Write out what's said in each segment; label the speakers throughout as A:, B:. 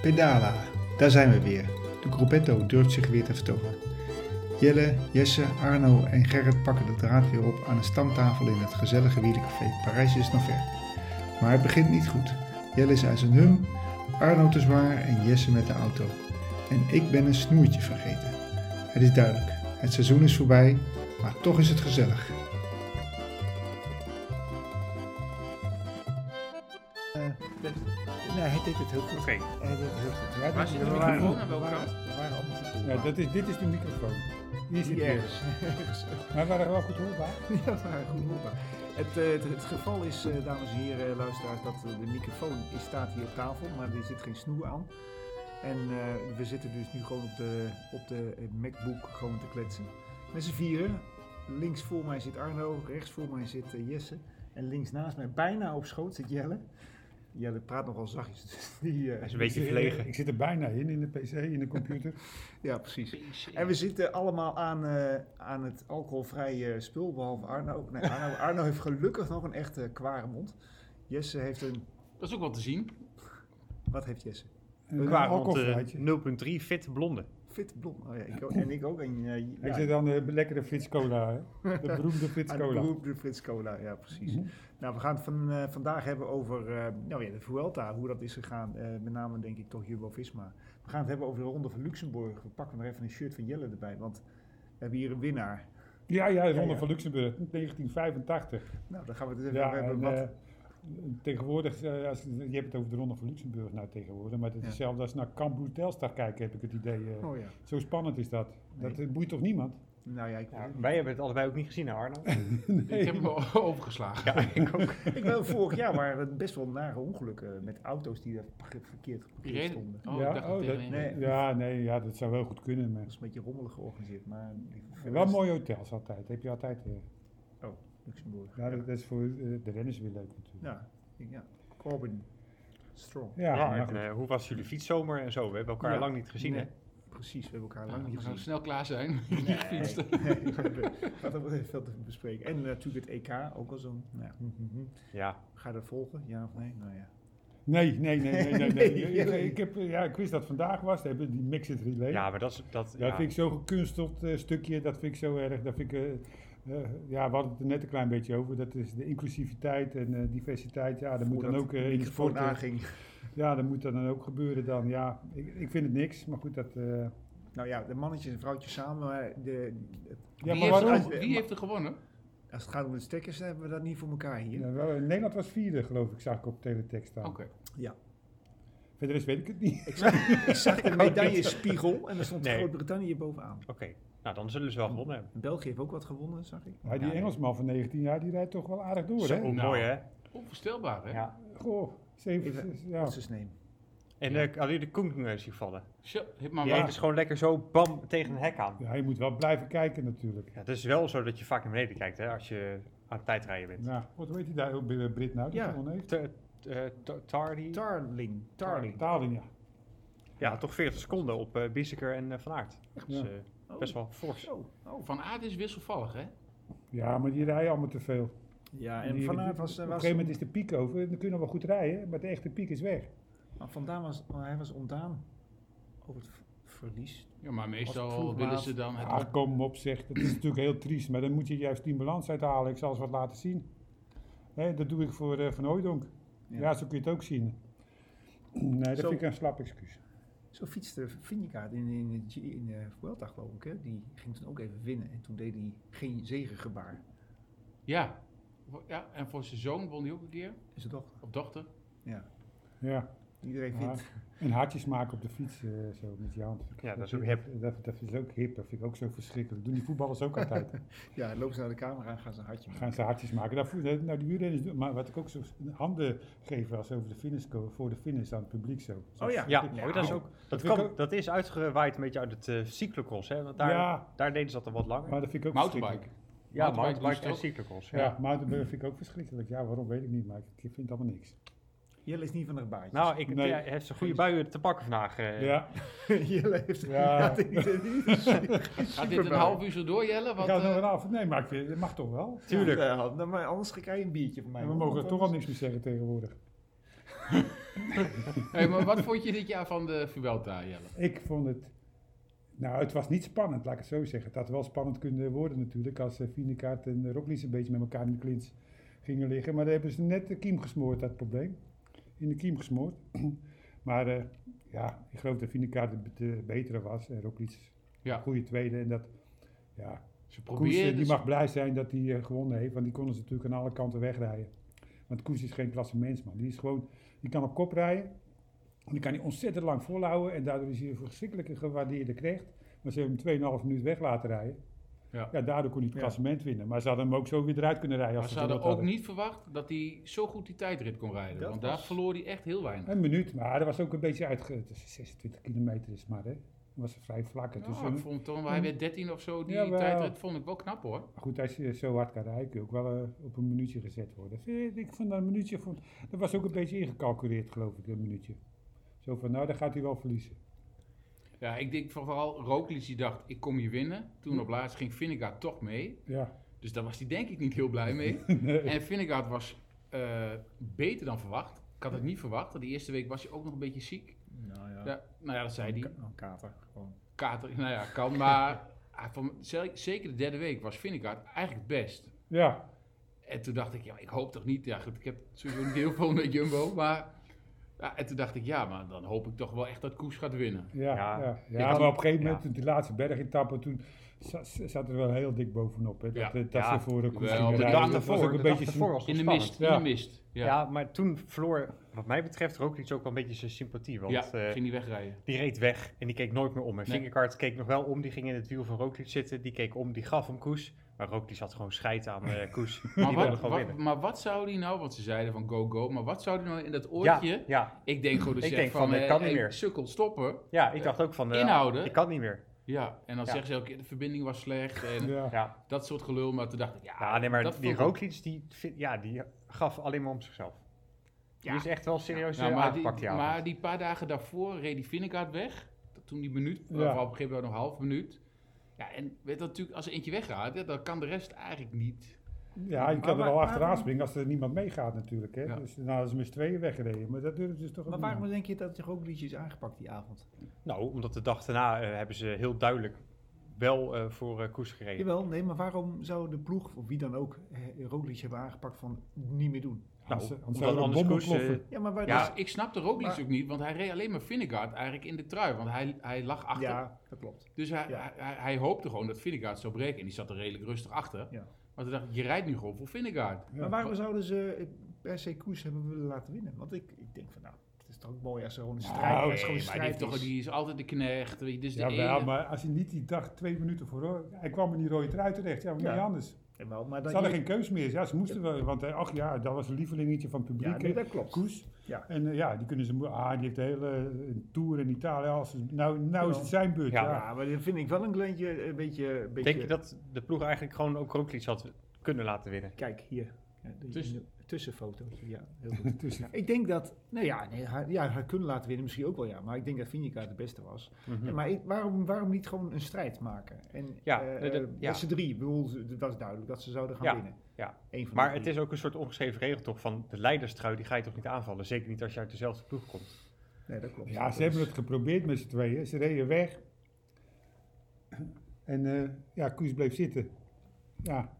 A: Pedala, daar zijn we weer. De gruppetto durft zich weer te vertonen. Jelle, Jesse, Arno en Gerrit pakken de draad weer op aan een stamtafel in het gezellige wielencafé Parijs is nog ver. Maar het begint niet goed. Jelle is uit zijn hum, Arno te zwaar en Jesse met de auto. En ik ben een snoertje vergeten. Het is duidelijk, het seizoen is voorbij, maar toch is het gezellig.
B: Eh, Nee, hij deed het heel goed.
C: Oké,
B: Hij deed het heel goed. Ja,
C: Waar
B: dus
C: zit de
B: we
C: microfoon
B: waren-
C: aan welke
B: we waren-
C: kant?
B: We waren allemaal goed
D: Ja, dat is, dit is de microfoon. Die zit
B: Niet
D: hier.
B: ergens.
D: Maar we waren wel goed hoorbaar.
B: Ja, we waren goed hoorbaar. Het, eh, het, het geval is, eh, dames en heren, eh, luisteraars, dat eh, de microfoon is, staat hier op tafel, maar er zit geen snoer aan. En eh, we zitten dus nu gewoon op de, op de eh, MacBook gewoon te kletsen. Met z'n vieren. Links voor mij zit Arno, rechts voor mij zit eh, Jesse. En links naast mij, bijna op schoot, zit Jelle. Jelle praat nogal zachtjes. dus die, eh,
C: hij is een beetje verlegen.
D: Ik zit er bijna in, in de pc, in de computer.
B: ja, precies. En we zitten allemaal aan, eh, aan het alcoholvrije spul, behalve Arno. Nee, Arno, Arno heeft gelukkig nog een echte kware mond. Jesse heeft een...
C: Dat is ook wel te zien.
B: Wat heeft Jesse?
D: Een
B: Qua
E: eh,
D: alcoholflaatje.
E: 0.3 fit blonde.
B: Fit blond. Oh ja, ik, ook- en ik ook. En, eh,
D: Ik
B: ja,
D: zit aan de lekkere Frits Cola, hè. De beroemde Frits
B: aan de
D: Cola.
B: beroemde Frits Cola. Ja, precies.
D: Mhm.
B: Nou, we gaan het van, eh, vandaag hebben over eh, nou ja, de Vuelta, hoe dat is gegaan. Eh, met name denk ik toch Jumbo-Visma. We gaan het hebben over de Ronde van Luxemburg. We pakken nog even een shirt van Jelle erbij, want we hebben hier een winnaar.
D: Ja, ja, de Ronde
B: Ja, ja.
D: van Luxemburg, 1985.
B: Nou, daar gaan we het even
D: Ja,
B: over hebben.
D: en,
B: Wat,
D: eh, tegenwoordig, eh, als, je hebt het over de Ronde van Luxemburg nou tegenwoordig, maar het is
B: Ja.
D: hetzelfde als naar Cambuur Telstar kijken, heb ik het idee. eh.
B: oh ja.
D: Zo spannend is dat. Dat
B: Nee.
D: eh, boeit toch niemand?
C: Oh,
B: Nou ja, ik,
E: Ja, wij hebben het allebei ook niet gezien, hè, Arno.
C: Ik heb hem al overgeslagen.
E: Ja, ik ook.
B: ik ben vorig jaar waren er best wel nare ongelukken met auto's die daar ge- verkeerd
C: Die
B: geparkeerd
C: reden-
B: stonden.
C: Oh,
D: Ja,
C: ik dacht
D: oh,
C: dat
D: dat-
C: tegen-
B: Nee,
D: Ja, nee, ja, dat zou wel goed kunnen. Maar...
B: dat is een beetje rommelig georganiseerd, maar die- voor
D: Wel
B: de rest-
D: mooie hotels altijd. Heb je altijd. eh.
B: Luxemburg.
D: Ja,
B: Ja,
D: dat, dat is voor eh, de renners weer leuk natuurlijk. Ja,
B: ja, ik- ja. Corbin Strong.
E: Ja,
D: maar
E: en,
D: goed.
E: eh, hoe was jullie fietszomer en zo? We hebben elkaar
B: Ja.
E: lang niet gezien,
B: Nee.
E: hè?
B: Precies, we hebben elkaar
C: Ja,
B: lang
C: we
B: niet
C: Nou, gaan
B: gezien.
C: snel klaar zijn.
B: Nee, nee, we hadden wel even veel te bespreken. En natuurlijk het EK, ook al zo'n... Nou, ja, hm, hm, hm.
E: Ja.
B: Ga je dat volgen, ja of nee? Nou ja.
D: Nee, nee, nee, nee, nee. nee.
B: Nee.
D: Ik, ik heb, eh, ja, ik wist dat vandaag was. Daar hebben die Mixed Relay.
E: ja, maar dat is... Dat,
D: Dat
E: ja.
D: vind ik zo'n gekunsteld eh, stukje. Dat vind ik zo erg. Dat vind ik, eh, eh, ja, we hadden het er net een klein beetje over. Dat is de inclusiviteit en eh, diversiteit. Ja, dat moet dan
B: Voordat
D: ook
B: de
D: eh, in de
B: microfoon
D: sport. eh,
B: aanging.
D: Ja, dat moet dan ook gebeuren dan. Ja, ik, ik vind het niks. Maar goed, dat... eh,
B: Nou ja, de mannetjes en vrouwtjes samen, maar de,
D: ja,
C: wie
D: maar
C: heeft, oh,
D: waarom?
C: Wie heeft er gewonnen?
B: als het gaat om de stekkers, hebben we dat niet voor elkaar hier.
D: Ja, wel, eh, Nederland was vierde, geloof ik, zag ik op teletext staan.
C: Oké.
D: Verder is weet ik het niet.
B: Ik zag, ik zag de medaillespiegel en daar stond
E: Nee.
B: Groot-Brittannië bovenaan.
E: Oké. Nou, dan zullen ze wel gewonnen hebben.
B: België heeft ook wat gewonnen, zag ik.
D: Maar die
E: Ja,
D: Engelsman van 19 jaar, die rijdt toch wel aardig door,
E: Zo,
D: hè?
E: mooi, hè?
C: Onvoorstelbaar, hè?
E: Ja.
D: Goh, zeven,
B: Even-
D: zes- ja.
B: Dat is neem.
E: En eh alleen de Koen is hier vallen.
C: Zo, heb maar
E: Die
C: waar.
E: ene is gewoon lekker zo bam tegen een hek aan.
D: ja, je moet wel blijven kijken natuurlijk.
E: Ja, het is wel zo dat je vaak naar beneden kijkt, hè? Als je aan het tijdrijden bent.
D: Nou, wat weet hij daar, ook bij- eh, Brit nou, die
B: Ja.
D: gewonnen heeft?
E: Te- te- te- Tardy?
B: Tarling. Tarling.
D: Taling, ja.
E: Ja, toch 40 seconden op eh Bisseker en eh, Van Aert. Dat is
D: Ja.
E: eh,
B: Oh,
E: best wel fors.
B: Zo. Oh.
C: Van Aert is wisselvallig, hè?
D: Ja, maar die rijden allemaal te veel.
B: Ja,
D: Die-
B: en Van
D: die-
B: Aert was...
D: op een
B: was
D: gegeven moment is de piek over, dan kunnen we wel goed rijden, maar de echte piek is weg.
B: maar Vandaan was... maar hij was ontdaan over het v- verlies.
C: Ja, maar
B: Als het vroeg
C: meestal willen
B: laat-
C: ze dan... Het
D: Ah, kom op zeg, dat is natuurlijk heel triest, maar dan moet je juist die balans uithalen. Ik zal eens wat laten zien. Hè, dat doe ik voor eh, Van Hooijdonk.
B: Ja.
D: Ja. zo kun je het ook zien. Nee, dat
B: Zo.
D: vind ik een slap excuus.
B: Zo fietste Vinjekaart in, in, de G- in eh, de Vuelta, geloof ik. Hè? Die ging toen ook even winnen. En toen deed hij geen zegengebaar.
C: Ja. ja. En voor zijn zoon won hij ook een keer.
B: Is het toch?
C: Op dochter.
D: Ja,
B: Iedereen
D: Ja.
B: vindt...
D: en hartjes maken op de fiets, eh, zo met je hand.
E: Ja, dat is ook hip.
D: Dat, dat is ook hip, dat vind ik ook zo verschrikkelijk. Dat doen die voetballers ook altijd.
B: Ja, lopen ze naar de camera en gaan ze een hartje maken.
D: Gaan ze hartjes maken. Dat voel- dat- nou, die wielrenners doen, maar wat ik ook zo handen geef als over de finish, ko- voor de finish aan het publiek zo. Zo
B: Oh ja.
E: Ja,
D: verschrikkelijk.
E: mooi, dat is ook
D: Dat
E: Dat,
D: vind ik
E: kan,
D: ook-
E: dat is uitgewaaid een beetje uit het eh, cyclocross, hè? Want daar,
D: Ja.
E: daar deden ze dat al wat langer.
D: Maar dat vind ik ook verschrikkelijk.
C: Mountainbike.
E: ja,
C: mountainbike
E: mountainbike en
C: doen ze
E: cyclocross. Ja.
D: Ja, maar dat vind ik ook verschrikkelijk. Ja, waarom weet ik niet, maar ik vind het allemaal niks.
B: Jelle is niet van de baantjes.
E: Nou, ik,
D: Nee.
E: ja, hij heeft zijn goede buien te pakken vandaag. eh.
D: Ja,
B: Jelle heeft...
D: ja.
B: Dit is- dit is-
C: Gaat dit een half uur zo door, Jelle?
D: Ik
C: Want,
D: ga het nog
C: eh,
D: wel af. Nee, maar ik vind, dat mag toch wel.
E: tuurlijk.
B: Ja, nou, maar anders krijg je een biertje van mij.
D: En we
B: hoor.
D: mogen
B: Want
D: toch al
B: anders-
D: niks meer zeggen tegenwoordig.
C: Hey, maar wat vond je dit jaar van de Vuelta, Jelle?
D: Ik vond het. Nou, het was niet spannend, laat ik het zo zeggen. Het had wel spannend kunnen worden natuurlijk als eh, Vinekaart en Roglic een beetje met elkaar in de klins gingen liggen. Maar daar hebben ze net de kiem gesmoord, dat probleem. In de kiem gesmoord. maar eh, ja, ik geloof dat Vinekaart de, de betere was en Roglic
C: Ja.
D: een goede tweede. En dat, ja,
C: Ze
D: Koes eh,
C: probeerden...
D: die mag blij zijn dat hij eh, gewonnen heeft, want die konden ze natuurlijk aan alle kanten wegrijden. Want Koes is geen klasse mens, man. Die is gewoon, die kan op kop rijden. En die kan hij ontzettend lang volhouden. En daardoor is hij een verschrikkelijke gewaardeerde knecht. Maar ze hebben hem 2,5 minuut weg laten rijden.
C: Ja.
D: daardoor kon hij het
B: Ja.
D: klassement winnen. Maar ze hadden hem ook zo weer eruit kunnen rijden.
C: Maar
D: Als
C: ze
D: ze het
C: hadden
D: gewild
C: ook niet verwacht dat hij zo goed die tijdrit kon rijden.
E: Dat
C: want daar
E: was-
C: verloor hij echt heel weinig.
D: Een minuut, maar dat was ook een beetje uitge... Het is 26 kilometer is maar, hè. Dat was vrij vlak. Het is
C: Ja,
D: een-
C: ik vond toch, hij werd 13 of zo, die
D: Jawel.
C: tijdrit vond ik wel knap hoor.
D: Maar goed, als je zo hard kan rijden, kun je ook wel eh, op een minuutje gezet worden. Eh, Ik vond dat een minuutje, vond, dat was ook een beetje ingecalculeerd, geloof ik, een minuutje. Zo van, nou, dan gaat hij wel verliezen.
C: Ja, ik denk van vooral Roglic die dacht, ik kom hier winnen. Toen op laatst ging Vingegaard toch mee.
D: Ja,
C: Dus daar was hij denk ik niet heel blij mee.
D: nee.
C: En Vingegaard was eh, beter dan verwacht. Ik had het niet verwacht. want De eerste week was hij ook nog een beetje ziek.
B: Nou ja,
C: Ja, nou ja, dat zei hij.
B: Ka- een kater gewoon.
C: Kater, nou ja, kan. Maar hij vond- ze- zeker de derde week was Vingegaard eigenlijk het best.
D: ja,
C: En toen dacht ik, ja, ik hoop toch niet. Ja, goed, ik heb sowieso niet heel veel met Jumbo. Maar ja, en toen dacht ik, ja, maar dan hoop ik toch wel echt dat Koes gaat winnen.
D: ja, ja.
E: Ja,
D: ja.
E: ik had-
D: maar op een gegeven
E: ja.
D: moment, toen die laatste bergetappe, toen za- zat er wel heel dik bovenop. Hè, dat
C: Ja.
D: eh, dat
E: Ja.
D: ze voor de koers
C: Wel,
D: gingen
C: de
D: rijden.
C: dag
D: Dat was
E: ervoor,
D: ook een
E: de dag
D: beetje zo-
E: ervoor was
C: In
E: nog
C: de
E: spannend.
C: mist,
D: Ja.
C: in de mist.
E: Ja.
C: Ja,
E: maar toen verloor, wat mij betreft, Roglic ook wel een beetje zijn sympathie. Want
C: Ja,
E: eh,
C: ging niet wegrijden.
E: die reed weg en die keek nooit meer om. En
C: Nee.
E: Vingerkaart keek nog wel om, die ging in het wiel van Roglic zitten. Die keek om, die gaf hem koes. Maar Roglic had gewoon scheid aan eh, koes. die
C: Maar
E: wilde
C: wat,
E: gewoon
C: wat-
E: winnen.
C: maar wat zou die nou, want ze zeiden van go, go. Maar wat zou die nou in dat
E: Ja,
C: oortje...
E: ja,
C: Ik denk gewoon dat
E: Ik
C: je
E: denk
C: zegt van,
E: van,
C: van
E: ik kan niet meer.
C: sukkel, stoppen.
E: ja, ik dacht ook van, eh,
C: Inhouden.
E: ik kan niet meer.
C: Ja, en dan
E: Ja.
C: zeggen ze elke keer, de verbinding was slecht en
D: Ja.
E: Ja,
C: dat soort gelul. Maar toen dacht ik, ja,
E: ja Nou, nee, maar
C: dat
E: die
C: vond ik-
E: Roglic, die, vind- ja, die gaf alleen maar om zichzelf.
C: Ja.
E: Die is echt wel serieus
C: Nou,
E: eh,
C: maar, die,
E: aangepakt, ja.
C: maar die paar dagen daarvoor reed die Vinnegaard weg. Toen die minuut,
D: Ja.
C: ja. op een gegeven moment nog een half minuut. Ja, en weet dat natuurlijk, als er eentje weggaat, hè, dan kan de rest eigenlijk niet.
D: Ja, je
B: Maar
D: kan er
B: waar-
D: al achteraan
B: waarom-
D: springen als er niemand meegaat natuurlijk. Hè.
C: Ja.
D: Dus, nou, dat is mis tweeën weggereden, maar dat durft dus toch ook
B: Maar
D: niet aan.
B: waarom denk je dat er ook liedjes aangepakt die avond?
E: Nou, omdat de dag daarna eh, hebben ze heel duidelijk wel eh, voor eh, koers gereden.
B: Jawel, nee, maar waarom zou de ploeg, of wie dan ook, eh, Roglic hebben aangepakt van niet meer doen?
E: Nou,
D: Anders- anders
E: omdat
D: zou er een
E: anders
D: bom
E: koers, eh,
D: ontploffen.
B: Ja, maar waar
E: Ja.
C: Dus ik snapte Roglic
B: Maar-
C: ook niet, want hij reed alleen maar Vinnegaard eigenlijk in de trui. Want hij, hij lag
B: dus,
C: achter.
B: ja, dat klopt.
C: Dus hij,
B: Ja.
C: hij, hij hoopte gewoon dat Vinnegaard zou breken. En die zat er redelijk rustig achter.
B: Ja.
C: Maar toen dacht ik, je rijdt nu gewoon voor Vinnegaard.
D: Ja.
B: Maar waarom zouden ze eh, per se koers hebben willen laten winnen? Want ik, ik denk van, nou, het is toch ook mooi als er gewoon een strijd,
D: Nou,
B: als
C: Nee,
B: er gewoon een
C: maar die, heeft
B: strijd
C: toch,
B: is.
C: die is altijd de knecht. Weet je, dus de
D: Ja,
C: ene-
D: maar als hij niet die dag twee minuten voor... Hij kwam in die rode trui terecht, ja, maar
B: Ja.
D: niet anders.
B: Ja, maar- maar
D: Ze
B: dat
D: hadden
B: je-
D: geen keus meer. Ja, ze moesten wel, want eh, ach ja, dat was een lievelingetje van het publiek.
B: Ja, nee,
D: hè.
B: dat klopt.
D: Koes.
B: Ja.
D: En eh, ja, die kunnen ze. mo- Ah, die heeft de hele eh, tour in Italië. Als, nou, nou is het zijn beurt. Ja.
E: Ja.
B: Ja, maar dat vind ik wel een kleintje, een beetje... Een beetje
E: Denk je dat de ploeg eigenlijk gewoon ook Roglic had kunnen laten winnen?
B: Kijk, hier. Ja, de-
C: Tussen-
B: een tussenfoto. Ja, heel goed.
D: Dus,
B: ik denk dat, nou ja, nee, haar, ja, haar kunnen laten winnen misschien ook wel, ja. Maar ik denk dat Vinica de beste was.
E: Mhm.
B: Ja, maar ik- waarom, waarom niet gewoon een strijd maken? En
E: Ja,
B: eh,
E: nee, dat-
B: eh,
E: ja.
B: met z'n drie, ik bedoel, ze- het was duidelijk dat ze zouden gaan
E: Ja,
B: winnen.
E: ja.
B: Eén van
E: Maar
B: de
E: het
B: drie.
E: is ook een soort ongeschreven regel toch van de leiderstrui, die ga je toch niet aanvallen? Zeker niet als je uit dezelfde ploeg komt.
B: Nee, dat klopt.
D: ja,
B: Dat
D: ze hebben
B: is-
D: het geprobeerd met z'n tweeën. Ze reden weg. En eh, ja, Koes bleef zitten. Ja.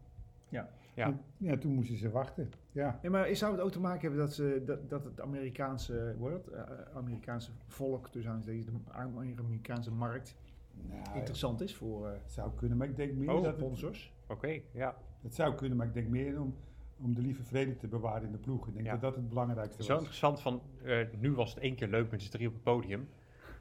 B: Ja.
E: Ja.
D: En, ja, toen moesten ze wachten. Ja.
B: Nee, maar zou het ook te maken hebben dat, ze, dat, dat het Amerikaanse, hoe heet dat? Eh, Amerikaanse volk, dus aan de Amerikaanse markt,
D: Nou, het
B: interessant is voor eh,
D: zou kunnen, maar ik denk meer
E: Oh,
D: dat het
B: sponsors?
E: Oké, ja.
D: Het zou kunnen, maar ik denk meer om, om de lieve vrede te bewaren in de ploeg. Ik denk
E: Ja.
D: dat dat het belangrijkste
E: Zo
D: was.
E: interessant van, eh, nu was het één keer leuk met z'n drie op het podium.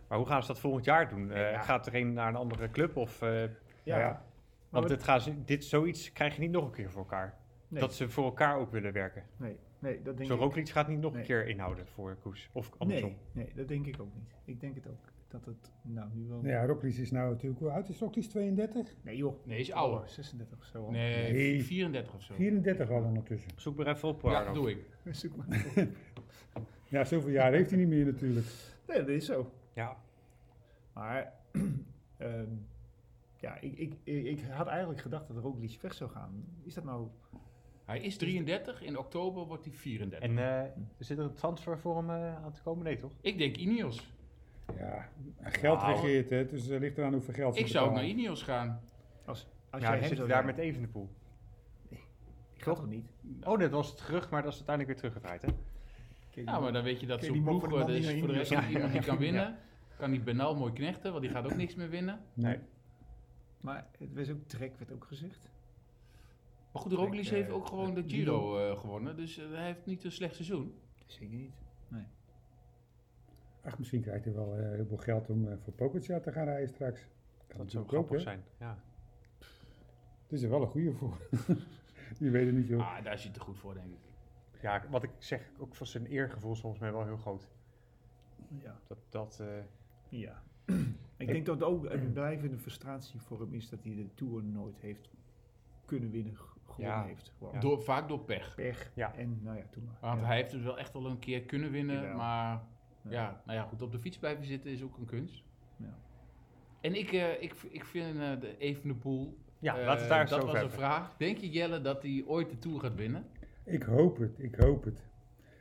E: Maar hoe gaan ze dat volgend jaar doen? Eh,
B: Ja.
E: Gaat er een naar een andere club? Of, eh,
D: Ja, ja.
B: Maar
E: want
B: wat-
E: dit, gaan ze, dit zoiets krijg je niet nog een keer voor elkaar.
B: Nee.
E: Dat ze voor elkaar ook willen werken.
B: Nee, nee, dat denk
E: Zo
B: ik
E: Roglic gaat niet nog
B: Nee.
E: een keer inhouden voor Koes. Of andersom.
B: Nee, nee, dat denk ik ook niet. Ik denk het ook. Dat het, nou, nu wel...
D: Nou ja, Roglic is nou natuurlijk... Hoe oud is Roglic? 32?
B: Nee joh.
C: Nee, is ouder.
B: Oh, 36 of zo. al.
C: Nee,
D: Nee.
C: 34 of zo.
D: 34 al ondertussen.
E: Zoek maar even op,
C: Ja,
E: Arno.
C: doe ik.
B: Zoek maar op.
D: Ja, zoveel jaar heeft hij niet meer natuurlijk.
B: nee, dat is zo.
E: Ja.
B: Maar, ehm, ja, ik, ik, ik, ik had eigenlijk gedacht dat Roglic weg zou gaan. Is dat nou...
C: Hij is 33, in oktober wordt hij 34.
E: En eh, zit er een transfer voor hem eh, aan te komen? Nee, toch?
C: ik denk Ineos.
D: Ja, geld
E: Nou.
D: regeert, hè, dus het ligt eraan hoeveel geld ze
C: Ik zou ook naar
D: betalen.
C: Ineos gaan.
B: Als
E: ja,
B: jij
E: dan
B: hem
E: zit hij
B: zou
E: daar
B: zijn.
E: met Evenepoel.
B: Ik ga toch niet?
E: Oh, dat was het gerucht, maar dat is uiteindelijk weer teruggedraaid, hè?
C: Ja, maar dan weet je dat
B: Oké,
C: zo'n
B: die man
C: ploeg
B: voor de
C: voor de,
B: man die
C: is
B: naar
C: voor de rest
E: Ineos-
C: van iemand die kan
E: Ja.
C: winnen. Kan die Benal mooi knechten, want die gaat ook niks meer winnen.
D: Nee.
B: Maar het was ook Trek, werd ook gezegd.
C: Maar goed, Roglic
B: Ik, eh,
C: heeft ook gewoon de
B: die
C: Giro eh, gewonnen, dus eh, hij heeft niet een slecht seizoen.
B: Zeker niet.
D: Ach, misschien krijgt hij wel eh, heel veel geld om eh, voor Pogacar te gaan rijden straks. Kan
E: Dat zou
D: natuurlijk
E: grappig
D: hè.
E: zijn. Ja.
D: Het is er wel een goede voor. je weet het niet, joh.
C: Ah, daar zit hij goed voor, denk ik.
E: ja, wat ik zeg, ook voor zijn eergevoel is volgens mij wel heel groot.
B: Ja.
E: Dat, dat, eh,
B: ja. ik denk dat ook een blijvende frustratie voor hem is dat hij de Tour nooit heeft kunnen winnen, g- gewonnen
E: Ja.
B: heeft. Gewoon
C: Door, vaak door pech.
B: pech.
E: Ja.
B: En nou ja, toen maar.
C: Want
B: Ja.
C: hij heeft het wel echt wel een keer kunnen winnen,
B: Jawel.
C: maar
B: Ja.
C: ja, nou ja, goed, op de fiets blijven zitten is ook een kunst.
B: Ja.
C: En ik, eh, ik, ik vind eh de Evenepoel,
E: ja,
C: eh,
E: laten we het daar eens
C: dat
E: over
C: was een
E: hebben.
C: vraag. Denk je Jelle dat hij ooit de Tour gaat winnen?
D: Ik hoop het, ik hoop het.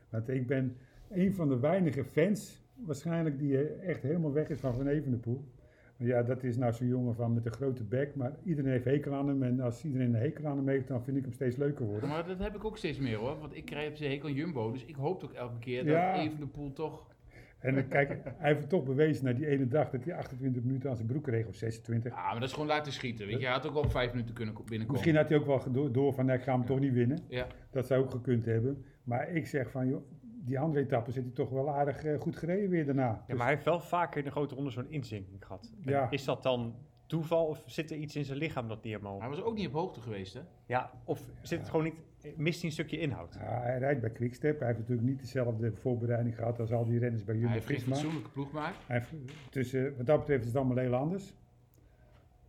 D: Want ik ben een van de weinige fans, waarschijnlijk, die eh, echt helemaal weg is van Van Evenepoel. Maar Ja, dat is nou zo'n jongen van met een grote bek, maar iedereen heeft hekel aan hem. En als iedereen een hekel aan hem heeft, dan vind ik hem steeds leuker worden.
C: Maar dat heb ik ook steeds meer hoor, want ik krijg op zijn hekel aan Jumbo, dus ik hoop ook elke keer dat
D: Ja.
C: Evenepoel toch...
D: En dan kijk, hij heeft het toch bewezen na die ene dag dat hij 28 minuten aan zijn broek kreeg, of 26.
C: Ah, maar dat is gewoon laten schieten, weet je. Hij had ook al vijf minuten kunnen ko- binnenkomen.
D: Misschien had hij ook wel gedo- door van, nee, ik ga hem toch niet winnen.
C: Ja.
D: Dat zou ook gekund hebben. Maar ik zeg van, joh, die andere etappe zit hij toch wel aardig eh, goed gereden weer daarna.
E: Ja, maar hij heeft wel vaker in de grote ronde zo'n inzinking gehad. En
D: Ja.
E: Is dat dan toeval of zit er iets in zijn lichaam dat niet helemaal...
C: Hij was ook niet op hoogte geweest, hè?
E: Ja, of zit het gewoon niet... Mist hij een stukje inhoud?
D: Dus, ja, hij rijdt bij Quickstep. Hij heeft natuurlijk niet dezelfde voorbereiding gehad als al die renners bij
C: Hij
D: Jumbo
C: heeft geen
D: Visma.
C: fatsoenlijke ploeg gemaakt.
D: Hij heeft, dus eh, wat dat betreft is het allemaal heel anders.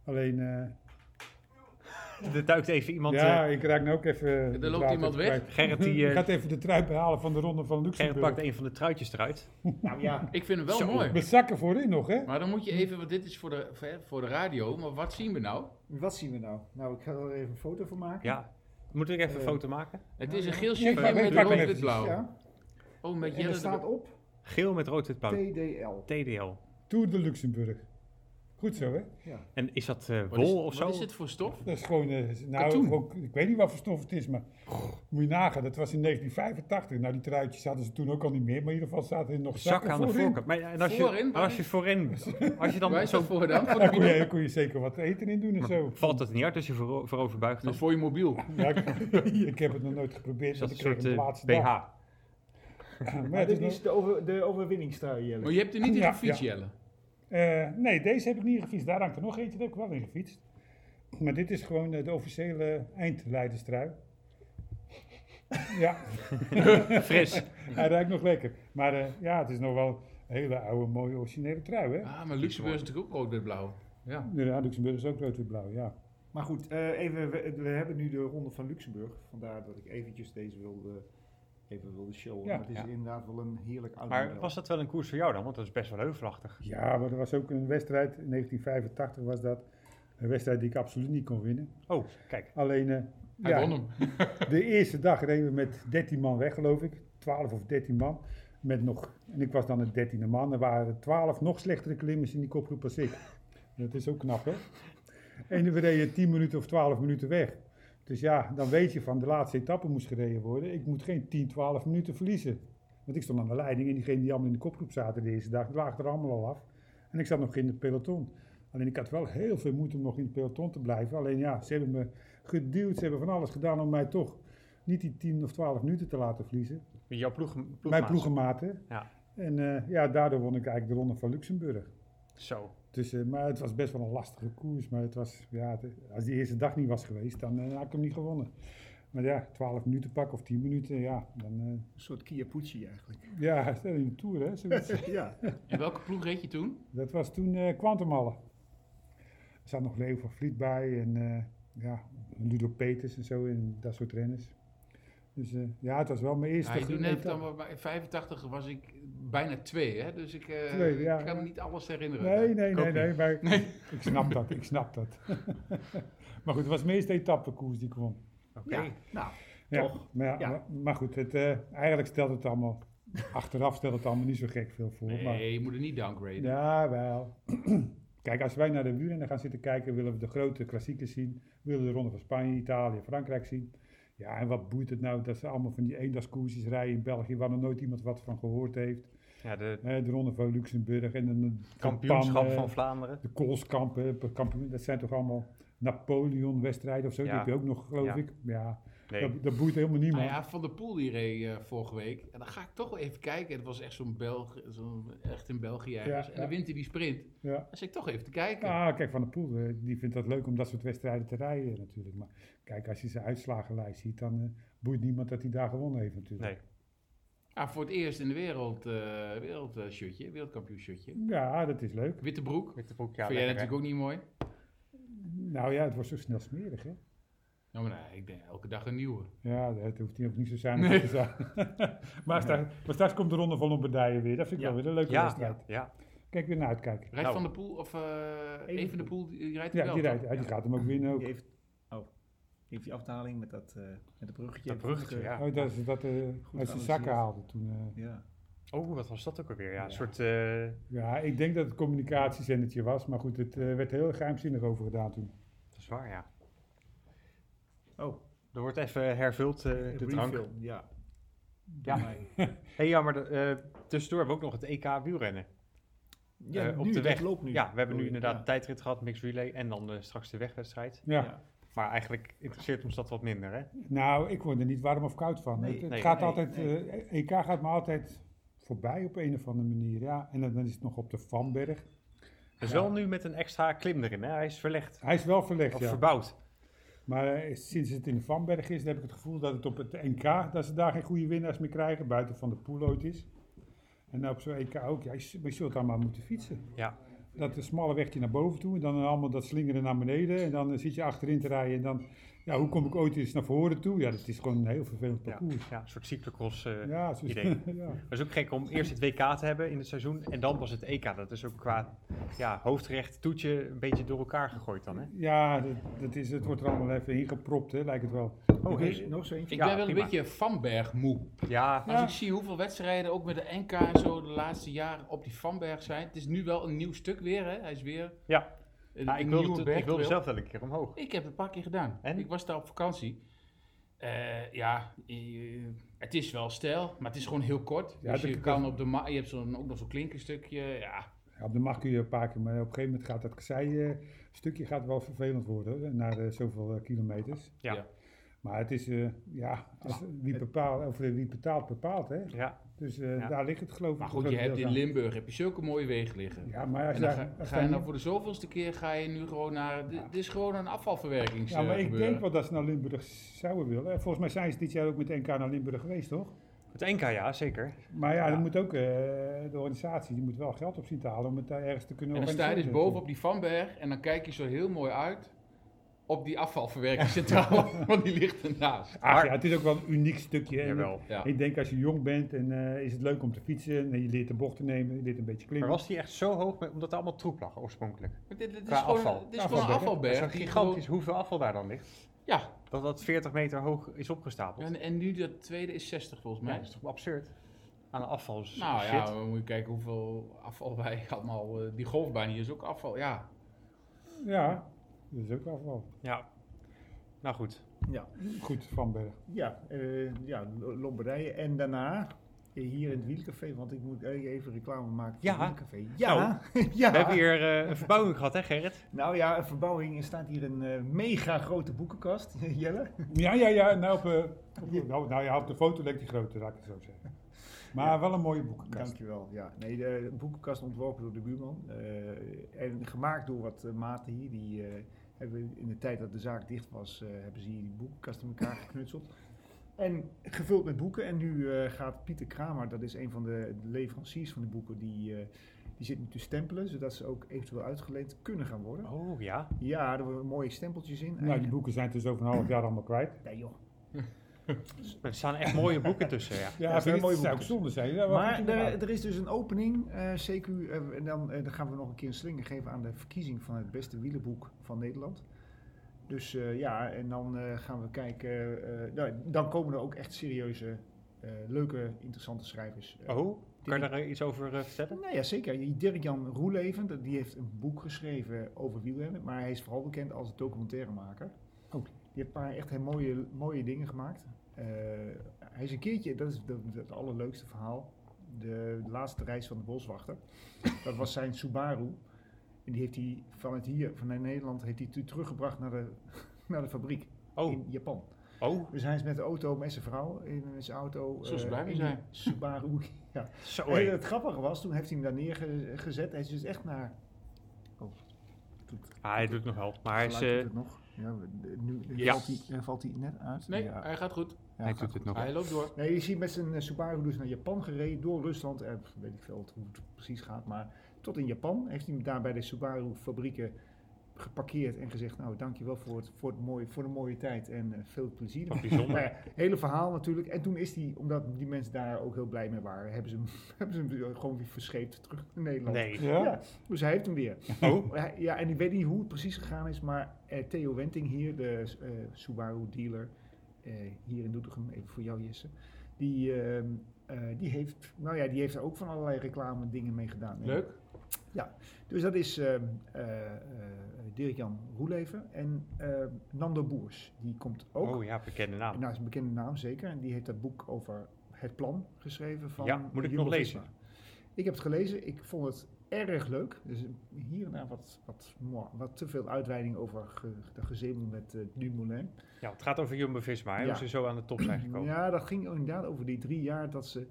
D: Alleen, eh,
E: Er duikt even iemand...
D: ja,
E: eh,
D: ik raak nu ook even...
C: loopt
D: het water
C: iemand weg.
D: kwijt.
E: Gerrit die, eh,
D: Ik gaat even de trui behalen van de Ronde van
E: Gerrit
D: Luxemburg.
E: pakt een van de truitjes eruit.
B: Nou ja,
C: Ik vind hem wel
E: Zo.
C: mooi.
D: Met zakken voorin nog, hè?
C: Maar dan moet je even, want dit is voor de, voor- voor de radio, maar wat zien we nou?
B: wat zien we nou? Nou, ik ga er even een foto van maken.
E: Ja. Moet ik even een
B: Eh,
E: foto maken?
C: Het
B: Nou,
C: is een
B: ja.
C: geel
D: Ja, ik
C: shirtje
D: pak-
C: met
D: ik pak hem
C: rood
D: even.
C: wit blauw.
B: Ja.
C: Oh, met
B: En er
C: Jelle
B: staat
C: de...
B: op
E: Geel met rood-wit blauw.
B: TDL.
E: TDL.
D: Tour de Luxemburg. Goed zo, hè?
B: Ja.
E: En is dat eh,
C: Wat is,
E: wol of zo?
C: wat is het voor stof?
D: Dat is gewoon, eh, nou,
C: Katoen.
D: gewoon- ik weet niet wat voor stof het is, maar moet je nagaan, dat was in 1985. Nou, die truitjes zaten ze toen ook al niet meer, maar in ieder geval zaten er nog
E: Zak
D: zakken
E: aan de
D: voorin.
E: voorkant. Maar eh, en als
C: Voorin?
E: je, als je voorin, als je
C: Waar
E: dan
C: is dat
E: zo,
C: voor dan? Voor de
D: Daar kon je,
C: mobiel?
D: kon je zeker wat eten in doen en zo.
E: valt het niet uit als je vooro- voorover buigt.
C: Dat
E: Dan
C: is voor je mobiel.
D: Ja, ik, ik heb het nog nooit geprobeerd,
E: is dat
D: want
E: een
D: ik kreeg
E: soort
D: een
E: eh,
D: laatste dag.
E: BH.
D: Maar
B: Maar
D: het is
B: dit
D: nog-
B: is de, over, de overwinningstrui, Jelle.
C: Maar je hebt er niet in
D: Ja,
C: gefietst,
D: ja.
C: Jelle.
D: eh, nee, deze heb ik niet gefietst. Daar hangt er nog eentje, daar heb ik wel in gefietst. Maar dit is gewoon eh, de officiële eindleiderstrui. Ja,
E: Fris.
D: hij ruikt nog lekker. Maar eh, ja, het is nog wel een hele oude, mooie, originele trui, hè?
C: Ah, maar Luxemburg is natuurlijk ook rood wit blauw. Ja.
D: Ja, Luxemburg is ook rood-wit-blauw, ja.
B: Maar goed, eh, even, we, we hebben nu de Ronde van Luxemburg. Vandaar dat ik eventjes deze wilde, even wilde showen.
D: Ja.
B: Maar het is
E: Ja.
B: inderdaad wel een heerlijk oud
E: Maar
B: model.
E: was dat wel een koers voor jou dan? Want dat is best wel heuvelachtig.
D: Ja, maar er was ook een wedstrijd, in 1985 was dat. Een wedstrijd die ik absoluut niet kon winnen.
E: Oh, kijk.
D: Alleen, eh,
C: Hij
D: ja,
C: won hem.
D: de eerste dag reden we met 13 man weg, geloof ik. 12 of 13 man. Met nog, en ik was dan het dertiende man. Er waren 12 nog slechtere klimmers in die kopgroep als ik. Dat is ook knap, hè? En we reden 10 minuten of 12 minuten weg. Dus ja, dan weet je van de laatste etappe moest gereden worden. Ik moet geen 10, 12 minuten verliezen. Want ik stond aan de leiding en diegenen die allemaal in de kopgroep zaten de eerste dag, die lagen er allemaal al af. En ik zat nog in het peloton. Alleen ik had wel heel veel moeite om nog in het peloton te blijven. Alleen ja, ze hebben me geduwd, ze hebben van alles gedaan om mij toch niet die 10 of 12 minuten te laten verliezen.
E: Jouw ploeg, ploegmaat.
D: Mijn ploegenmaten.
E: Ja.
D: En eh, ja, daardoor won ik eigenlijk de ronde van Luxemburg.
E: Zo.
D: Dus, eh, maar het was best wel een lastige koers. Maar het was, ja, het- als die eerste dag niet was geweest, dan eh, had ik hem niet gewonnen. Maar ja, 12 minuten pakken of 10 minuten, ja. Dan, eh,
B: Een soort Kiapucci eigenlijk.
D: ja, stel in de Tour, hè, zoiets.
B: ja.
C: En welke ploeg reed je toen?
D: Dat was toen eh Quantumallen. Er zat nog Leo van Vliet bij en eh, ja, Ludo Peters en zo en dat soort renners. Dus eh, ja, het was wel mijn eerste.
C: Hij doet net
D: etappe.
C: dan, maar in 85 was ik bijna twee, hè? Dus ik eh,
D: Twee, ja.
C: ik kan me niet alles herinneren.
D: Nee, nee,
E: Ik ook
D: nee, nee, maar ik snap dat, ik snap dat. maar goed, het was de meeste etappekoers die ik won.
E: Oké.
B: ja, nou,
D: Ja,
B: Toch?
D: Maar, ja,
B: Ja.
D: Maar, maar goed, het, eh, eigenlijk stelt het allemaal, achteraf stelt het allemaal niet zo gek veel voor. Maar,
C: Nee, je moet het niet downgraden.
D: ja, wel. Kijk, als wij naar de wielrennen gaan zitten kijken, willen we de grote klassiekers zien. Willen we de Ronde van Spanje, Italië, Frankrijk zien. Ja, en wat boeit het nou dat ze allemaal van die eendagskoersjes rijden in België, waar nog nooit iemand wat van gehoord heeft.
E: Ja, de
D: Eh, de Ronde van Luxemburg en een
E: kampioenschap
D: Campagne,
E: van Vlaanderen.
D: de Koolskampen, eh, kampioen, dat zijn toch allemaal Napoleon-wedstrijden of zo?
E: Ja.
D: Die heb je ook nog, geloof
E: Ja.
D: ik. Ja,
E: Nee,
D: dat, dat boeit helemaal niemand.
C: Nou ja, Van der Poel die reed eh, vorige week. En dan ga ik toch wel even kijken. Het was echt zo'n Belg, zo'n, echt in België ergens.
D: Ja,
C: En dan
D: ja.
C: wint hij die sprint.
D: ja.
C: Dan zit ik toch even te kijken.
D: Ja, kijk, Van der Poel eh, die vindt dat leuk om dat soort wedstrijden te rijden natuurlijk. Maar kijk, als je zijn uitslagenlijst ziet, dan eh, boeit niemand dat hij daar gewonnen heeft natuurlijk.
E: nee.
C: Ah, voor het eerst in de wereld, eh wereld eh, shirtje, wereldkampioen shirtje.
D: Ja, dat is leuk.
C: Witte broek.
E: Met de broek, ja,
C: Vind jij
E: lekker, hè?
C: natuurlijk ook niet mooi?
D: Nou ja, het wordt zo snel smerig, hè?
C: Nou, maar nee, ik denk elke dag een nieuwe.
D: Ja, dat hoeft hij ook niet zo zijn.
C: Nee.
D: te zijn. maar, straks, maar straks komt de Ronde van Lombardije weer. Dat vind ik
B: Ja.
D: wel weer een leuke wedstrijd.
E: Ja, ja.
D: Kijk, weer naar uitkijken.
C: Rijdt
E: Nou.
C: Van der Poel of eh
B: Evenepoel.
C: Even de Poel, die, die rijdt
D: Ja,
C: wel.
D: die,
C: toch?
D: rijdt, die
B: Ja.
D: gaat hem ook winnen. Ook.
B: Die heeft, oh, die heeft die afdaling met dat, eh met dat bruggetje.
E: Dat bruggetje, ja.
D: Oh, dat is dat eh, uit zijn
B: geanalyseerd.
D: zakken haalde toen. eh.
B: Ja.
E: Oh, wat was dat ook alweer? Ja, een
D: Ja.
E: soort... eh,
D: Ja, ik denk dat het communicatiezendertje was. Maar goed, het eh, werd heel geheimzinnig over gedaan toen.
E: dat is waar, ja.
B: Oh,
E: Er wordt even hervuld eh, de drank.
B: refill, ja.
E: Ja.
B: Maar-
E: hey, ja, maar de, eh, tussendoor hebben we ook nog het EK wielrennen.
B: ja
E: Eh,
B: op de weg. Loopt nu. Oh,
E: Ja, we hebben nu
B: Sorry,
D: Oh,
E: inderdaad
B: ja.
E: de tijdrit gehad, mixed relay en dan eh, straks de wegwedstrijd.
D: Ja.
B: Ja.
E: Maar eigenlijk interesseert ons dat wat minder, hè?
D: Nou, ik word er niet warm of koud van.
B: Nee,
D: het het
E: nee,
D: gaat
B: nee,
D: altijd,
B: nee.
D: eh, EK gaat me altijd voorbij op een of andere manier. Ja. En dan, dan is het nog op de Vanberg.
E: Dus
D: Ja.
E: wel nu met een extra klim erin, hè? Hij is verlegd.
D: Hij is wel verlegd,
E: Of
D: ja.
E: verbouwd.
D: Maar eh, sinds het in de Vanberg is, dan heb ik het gevoel dat het op het NK, dat ze daar geen goede winnaars meer krijgen, buiten van de poel ooit is. En nou op zo'n EK ook, ja, je z- maar je zult daar maar moeten fietsen.
E: Ja.
D: Dat eh, smalle wegje naar boven toe, en dan allemaal dat slingeren naar beneden. En dan eh, zit je achterin te rijden en dan, ja, hoe kom ik ooit eens naar voren toe? Ja, dat is gewoon een heel vervelend
E: Ja,
D: parcours.
E: ja, een soort cyclocross. eh.
D: Ja, zo
E: idee.
D: ja.
E: Maar het is ook gek om eerst het WK te hebben in het seizoen en dan pas het EK. Dat is ook qua ja, hoofdrecht, toetje, een beetje door elkaar gegooid dan, hè?
D: Ja, dat, dat is, het wordt er allemaal even ingepropt, hè, lijkt het wel.
E: Oh,
B: Nog eens- nog zo eentje.
C: Ik
E: Ja,
C: ben wel
E: prima.
C: een beetje Vanberg moe.
E: Ja,
D: Ja.
C: Als ik zie hoeveel wedstrijden ook met de NK en zo de laatste jaren op die Vanberg zijn. Het is nu wel een nieuw stuk weer, hè? Hij is weer
E: Ja.
C: een,
E: Nou, ik,
C: een
E: wilde,
C: nieuwe
E: het- ik
C: bergtrail.
E: wilde zelf wel een keer omhoog.
C: Ik heb het een paar keer gedaan.
E: En?
C: Ik was daar op vakantie. Eh, ja, eh, het is wel stijl, maar het is gewoon heel kort.
D: Ja,
C: dus
D: dat-
C: je kan op de ma- je hebt zo'n, ook nog zo'n klinkerstukje. Ja,
D: Ja, op de mag kun je een paar keer, maar op een gegeven moment gaat dat kasseistukje gaat wel vervelend worden hè, na eh, zoveel eh, kilometers.
E: Ja.
C: Ja.
D: Maar het is, eh, ja, als, wie, bepaalt, of, eh, wie betaalt, bepaalt. Hè?
E: Ja,
D: Dus eh,
E: Ja.
D: daar ligt het geloof ik.
C: maar
D: voor
C: goed, je
D: een
C: hebt
D: deel
C: in
D: aan.
C: Limburg heb je zulke mooie wegen liggen.
D: Ja, maar als
C: en dan
D: daar-
C: ga,
D: als daar
C: ga je
D: niet-
C: nou voor de zoveelste keer ga je nu gewoon naar. Dit, dit is gewoon een afvalverwerkings.
D: Ja, maar
C: eh,
D: ik
C: gebeuren.
D: denk wel dat ze naar Limburg zouden willen. En Volgens mij zijn ze dit jaar ook met NK naar Limburg geweest, toch?
E: het NK, ja, zeker.
D: Maar ja,
E: Ja.
D: dat moet ook, eh, de organisatie die moet wel geld op zien te halen om het daar ergens te kunnen
C: En dan sta je dus
D: organiseren.
C: boven op die Vanberg en dan kijk je zo heel mooi uit op die afvalverwerkingscentrale, want die ligt ernaast.
D: Ach, ja, het is ook wel een uniek stukje. En
E: Jawel.
C: Ja.
D: Ik denk als je jong bent en eh, is het leuk om te fietsen en je leert de bocht te nemen, je leert een beetje
E: Maar
D: klimmen.
E: was die echt zo hoog, met- omdat er allemaal troep lag oorspronkelijk?
C: Maar Dit, dit is
E: Qua
C: gewoon,
E: afval.
C: Dit is gewoon een
D: Afvalberg,
E: Dat is
D: Nou, hè?
C: afvalberg.
E: toch
C: die
E: gigantisch hoeveel afval daar dan ligt.
C: gewoon- ja,
E: Dat dat 40 meter hoog is opgestapeld.
C: en, en nu dat tweede is 60 volgens
E: Ja,
C: mij.
E: dat is toch absurd? Aan de afval is
C: nou
E: shit.
C: ja, we moeten kijken hoeveel afval wij allemaal... eh, die golfbaan hier is ook afval, ja.
D: Ja, dat is ook afval.
E: Ja. Nou goed.
B: Ja.
D: Goed, Vanberg.
B: Ja, eh, ja, Lo- Lombardije. En daarna eh, hier in het Wielcafé, want ik moet eh, even reclame maken voor
E: Ja.
B: het Wielcafé. Ja, Nou, ja.
E: We hebben hier eh, een verbouwing gehad, hè Gerrit?
B: Nou ja, een verbouwing. Er staat hier een eh, mega grote boekenkast, Jelle.
D: Ja, ja, ja. Nou, op, eh, op- nou, nou ja, op de foto leek die groter, laat ik het zo zeggen. Maar wel een mooie boekenkast.
B: Dankjewel. Ja, nee, de boekenkast ontworpen door de buurman. eh, en gemaakt door wat eh, maten hier. Die eh, hebben in de tijd dat de zaak dicht was, eh, hebben ze hier die boekenkast in elkaar geknutseld. En gevuld met boeken. En nu eh, gaat Pieter Kramer, dat is een van de leveranciers van de boeken, die, eh, die zit nu te stempelen, zodat ze ook eventueel uitgeleend kunnen gaan worden.
E: Oh ja.
B: Ja, er worden mooie stempeltjes in.
D: Nou, die boeken zijn dus over een half jaar allemaal kwijt.
B: Nee joh.
E: Er staan echt mooie boeken tussen, ja.
D: Ja,
B: dat zijn
D: vind ik-
B: mooie
D: zou ook
B: boeken.
D: zonde zijn. Ja, wat
B: Maar
D: moet je
B: er,
D: nou?
B: er is dus een opening, eh, CQ, eh, en dan, eh, dan gaan we nog een keer een slinger geven aan de verkiezing van het beste wielenboek van Nederland. Dus eh, ja, en dan eh, gaan we kijken. eh, nou, dan komen er ook echt serieuze, eh, leuke, interessante schrijvers. eh,
E: Oh, kan je
B: die-
E: daar eh, iets over eh, vertellen?
B: nou ja, zeker. Die Dirk-Jan Roeleven, dat- die heeft een boek geschreven over wielrennen, maar hij is vooral bekend als documentairemaker.
D: Oh.
B: Die heeft een paar echt heel mooie, mooie dingen gemaakt. Eh, hij is een keertje, dat is de- de- het allerleukste verhaal, de laatste reis van de boswachter. Dat was zijn Subaru. En die heeft hij vanuit hier, vanuit Nederland, heeft hij tu- teruggebracht naar de, naar de fabriek
E: Oh,
B: in Japan.
E: oh,
B: Dus hij is met de auto, met zijn vrouw, in zijn auto.
C: Zoals ze
B: eh,
C: blij mee
B: in die
C: zijn.
B: Subaru, ja.
E: zo
B: En
E: hé.
B: het grappige was, toen heeft hij hem daar neergezet. Hij is dus echt naar. Oh, doet
E: Ah, hij doet het nog wel, maar hij, is,
B: geluid doet
E: eh,
B: het nog. Ja, we- nu nu
E: Ja.
B: valt, hij, eh, valt hij net uit.
C: Nee,
B: ja,
C: hij gaat goed.
B: ja,
E: hij
B: gaat
E: doet
B: goed.
E: het nog.
C: Hij loopt door.
B: Nee, je ziet met zijn eh, Subaru dus naar Japan gereden, door Rusland en weet ik veel hoe het precies gaat, maar tot in Japan heeft hij hem daar bij de Subaru fabrieken geparkeerd en gezegd, nou dankjewel voor, het, voor, het mooie, voor de mooie tijd en eh, veel plezier.
E: Wat bijzonder.
B: Maar ja, hele verhaal natuurlijk. En toen is hij, omdat die mensen daar ook heel blij mee waren, hebben ze hem, hebben ze hem gewoon weer verscheept terug naar Nederland.
E: Nee.
D: Ja?
B: Ja, dus hij heeft hem weer.
E: Oh,
B: Hij- Ja, en ik weet niet hoe het precies gegaan is, maar eh, Theo Wenting hier, de eh, Subaru dealer eh, hier in Doetinchem, even voor jou Jesse, die, ehm, eh, die, heeft, nou ja, die heeft er ook van allerlei reclame dingen mee gedaan.
C: Leuk.
B: Dus dat is ehm, eh, eh, Dirk-Jan Roeleven en ehm, Nando Boers, die komt ook.
E: oh ja, bekende naam.
B: Nou, dat is een bekende naam, zeker. En die heeft dat boek over het plan geschreven van
E: Ja, moet ik nog
B: Jumbo-Visma.
E: lezen?
B: Ik heb het gelezen. Ik vond het erg leuk. Dus hier en daar wat, wat, mwah, wat te veel uitweiding over ge, de gezemel met eh, Dumoulin.
E: Ja, het gaat over Jumbo-Visma, hè,
B: Ja.
E: hoe ze zo aan de top zijn gekomen.
B: Ja, dat ging inderdaad over die drie jaar dat ze...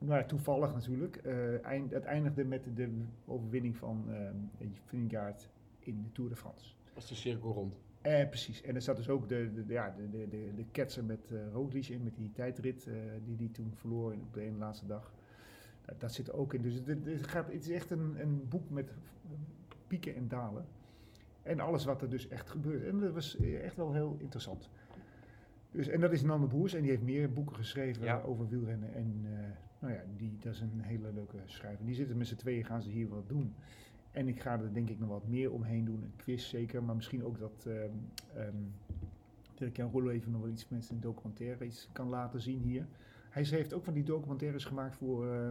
B: Nou ja, toevallig natuurlijk. eh eind, het eindigde met de overwinning van eh Vingegaard in de Tour de France.
C: Dat is de cirkel rond.
B: Eh, precies. En er zat dus ook de, de, de- ja, de, de, de, de ketser met eh Roglic in, met die tijdrit eh, die die toen verloor in- op de ene laatste dag. Dat, dat zit er ook in. Dus het, het, gaat, het is echt een, een boek met eh, pieken en dalen. En alles wat er dus echt gebeurt. En dat was eh, echt wel heel interessant. Dus, en dat is Nando Boers en die heeft meer boeken geschreven
E: Ja.
B: over wielrennen. En eh, nou ja, die, dat is een hele leuke schrijver. Die zitten met z'n tweeën, gaan ze hier wat doen. En ik ga er denk ik nog wat meer omheen doen. Een quiz zeker, maar misschien ook dat ehm ehm Dirk-Jan Rollo even nog wel iets mensen een documentaire iets kan laten zien hier. Hij ze heeft ook van die documentaires gemaakt voor, eh,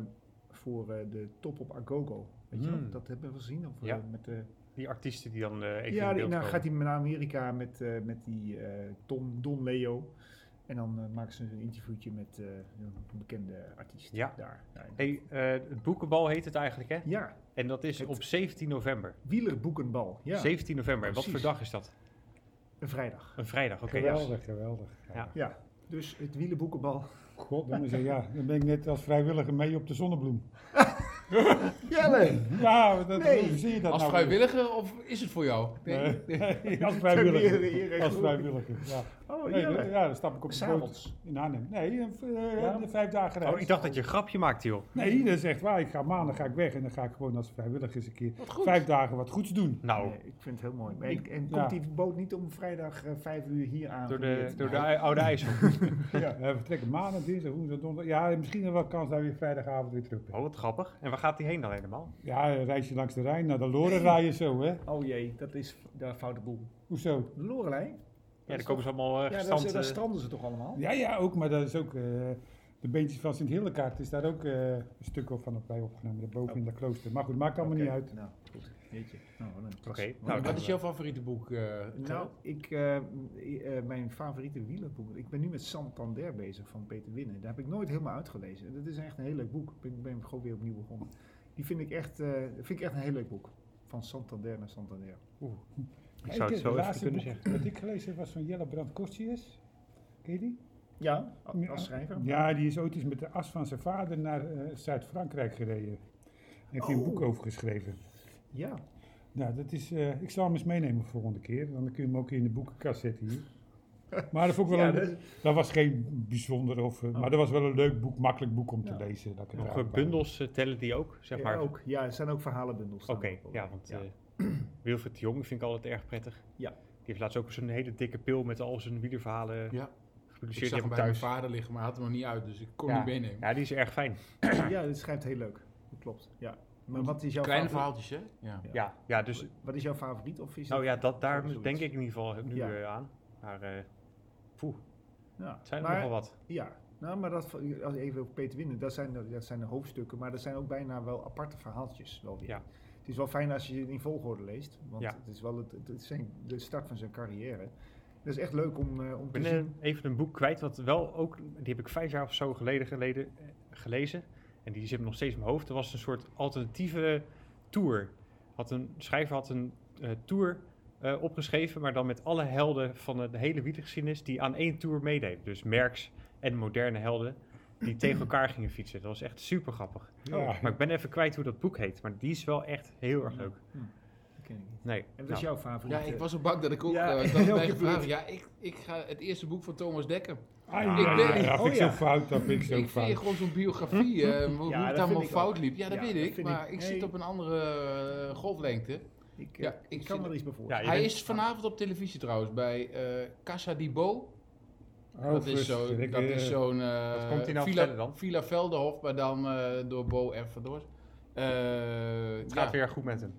B: voor eh, de top op Agogo. Weet je wel?
E: Hmm.
B: Dat hebben we gezien. Of, eh,
E: Ja.
B: met, de
E: Die artiesten die dan eh even
B: ja,
E: in
B: die-
E: beeld
B: nou
E: komen.
B: gaat hij naar Amerika met, eh, met die eh Tom, Don Leo. En dan eh, maken ze een interviewtje met eh, een bekende artiest
E: Ja.
B: daar. Ja, en-
E: Hey, eh, het boekenbal heet het eigenlijk, hè?
B: ja,
E: En dat is
B: Het-
E: op 17 november.
B: wielerboekenbal. Ja,
E: 17 november. En Wat voor
B: Precies.
E: dag is dat?
B: een vrijdag.
E: Een vrijdag, oké. ja.
D: Geweldig, geweldig.
E: Ja.
B: Ja, dus het wielerboekenbal.
D: God, dan, zeg, ja, dan ben ik net als vrijwilliger mee op de zonnebloem.
B: Jelle!
D: Ja, dat,
B: Nee.
D: hoe zie je dat
C: Als
D: nou?
C: vrijwilliger of is het voor jou?
D: Nee, nee, als
B: Weer- weer-
D: vrijwilliger.
B: weer-
D: Als vrijwilliger, ja.
B: Oh,
D: Nee,
B: Jelle.
D: dat- ja, dan stap ik op de boot
B: S'avonds.
D: in Arnhem. Nee, eh, v- eh,
B: Ja?
D: de vijf dagen reis.
E: Oh, ik dacht dat je een grapje maakte, joh.
D: Nee, dat is echt waar. Ik ga maandag ga ik weg en dan ga ik gewoon als vrijwilliger eens een keer vijf dagen wat goeds doen.
E: Nou,
B: Nee, ik vind het heel mooi. Maar ik- en
D: Ja.
B: komt die boot niet om vrijdag eh, vijf uur hier aan?
E: door de,
B: gemeerd?
E: door de
B: Nou,
E: ou- oude ijssel.
D: Ja, we vertrekken maandag, dinsdag, woensdag, donderdag. Ja, en misschien wel kans dat je vrijdagavond weer terug bent.
E: Oh, wat grappig. En waar gaat die heen dan helemaal?
D: Ja, een reisje langs de Rijn, naar de Loren rijden zo, hè.
B: Oh jee, dat is f- de foute boel.
E: Oh.
D: Hoezo?
B: De Lorelei?
E: Ja, dan komen ze allemaal eh
B: Ja,
E: gestand,
B: daar, daar
E: eh,
B: stranden ze toch allemaal?
D: Ja, ja, ook, maar dat is ook... eh, de beentjes van Sint Hillekaart is daar ook eh, een stuk op van op bij opgenomen, daarboven
E: Oh.
D: in dat klooster. Maar goed, maakt allemaal niet uit.
B: Nou, goed. Jeetje. Nou, wat een
E: Oké,
B: wat
E: nou,
B: een-
E: dat
C: Wat is jouw favoriete boek? eh,
B: Nou, ik, eh, eh, mijn favoriete wielerboek. Ik ben nu met Santander bezig van Peter Winnen. Daar heb ik nooit helemaal uitgelezen. Dat is echt een heel leuk boek. Ik ben, ben gewoon weer opnieuw begonnen. Die vind ik echt, eh, vind ik echt een heel leuk boek. Van Santander naar Santander.
E: Ik zou het
D: ken-
E: zo even
D: de laatste
E: kunnen
D: boek
E: zeggen.
D: Wat ik gelezen heb was van Jelle Brand Kostius. Ken je die?
B: Ja, a-
D: Ja.
B: als schrijver.
D: Ja, die is ooit eens met de as van zijn vader naar eh, Zuid-Frankrijk gereden. Daar heeft hij
C: Oh.
D: een boek over geschreven.
B: Ja.
D: Nou, dat is, eh, ik zal hem eens meenemen voor de volgende keer. Dan kun je hem ook in de boekenkast zetten hier. Maar dat, vond ik wel
B: Ja,
D: een-
B: dat-
D: dat... was geen bijzonder, of, eh, maar dat was wel een leuk boek, makkelijk boek om te
B: Ja.
D: lezen. Dat ik het
E: Nog
D: eruit
E: eh,
D: pak.
E: bundels eh, tellen die ook, zeg
B: Ja,
E: maar. Oké,
B: ook, ja, er zijn ook verhalenbundels. staan er ook.
E: ja, want
B: Ja.
E: eh, Wilfried de Jong vind ik altijd erg prettig.
B: Ja.
E: Die heeft laatst ook zo'n hele dikke pil met al zijn wielerverhalen
C: Ja. Ik
E: gepubliceerd.
C: zag
E: Die
C: hem
E: heb ik
C: bij mijn
E: thuis.
C: vader liggen, maar hij had hem nog niet uit, dus ik kon
E: Ja.
C: niet meenemen.
E: Ja, die is erg fijn.
B: ja, dat schrijft heel leuk. Dat klopt. Ja. Maar wat is jouw
C: Kleine
B: favoriet?
C: verhaaltjes, hè? Ja.
E: Ja, ja dus
B: Wat is jouw favoriet? Of is
E: nou
B: het-
E: ja, dat, daar
B: Zoiets.
E: denk ik in ieder geval nu
B: Ja.
E: eh, aan. Maar eh poeh,
B: Ja,
E: het zijn er
B: maar-
E: nogal wat.
B: Ja, nou, maar dat, als even op Peter Winnen, dat zijn, de- dat zijn de hoofdstukken, maar dat zijn ook bijna wel aparte verhaaltjes. Wel weer.
E: Ja.
B: Het is wel fijn als je het in volgorde leest, want
E: Ja.
B: het is wel het, het is zijn, de start van zijn carrière. Dat is echt leuk om, eh, om
E: Ik
B: te
E: ben eh,
B: zien.
E: even een boek kwijt, wat wel ook, die heb ik vijf jaar of zo geleden, geleden eh, gelezen. En die zit me nog steeds in mijn hoofd. Er was een soort alternatieve tour. Had een schrijver had een eh, tour eh, opgeschreven, maar dan met alle helden van de hele wielergeschiedenis die aan één tour meededen. Dus merks en moderne helden die tegen elkaar gingen fietsen. Dat was echt super grappig.
C: Oh.
D: Ja.
E: Maar ik ben even kwijt hoe dat boek heet, maar die is wel echt heel erg leuk.
B: Dat ken ik niet.
E: Nee,
B: En wat
E: nou,
B: is jouw favoriet?
C: Ja, ik was zo bang dat ik ook
B: Ja,
C: eh,
B: ook
C: dat bij
B: je
C: gevraagd.
B: beurt.
C: Ja, ik, ik ga het eerste boek van Thomas Dekker.
D: Ah,
E: Ik
D: ja,
C: ben-
D: dat vind
B: Oh,
D: ik zo
B: ja.
D: fout, dat vind ik zo
C: ik vind
D: fout.
C: gewoon zo'n biografie, eh, hoe
B: dat
C: het
B: vind
C: allemaal
B: ik
C: fout
B: ook.
C: liep. Ja, dat
B: Ja, dat
C: weet ik,
B: vind
C: maar
B: ik-
C: ik, zit
B: nee.
C: op een andere eh, golflengte.
B: ik,
C: ja,
B: eh,
C: ik
B: ik kan
C: vind-
B: er iets
E: Ja,
B: bijvoorbeeld.
E: je
C: Hij
E: bent-
C: is vanavond op televisie trouwens, bij eh Casa di Bo. dat is zo-
D: verschrikkelijk.
C: dat is zo'n eh,
E: Wat komt hij nou
C: Villa,
E: vertellen dan?
C: Villa Veldenhof, maar dan eh, door Bo en Van Doors. Eh,
E: het
C: ja.
E: gaat weer goed met hem.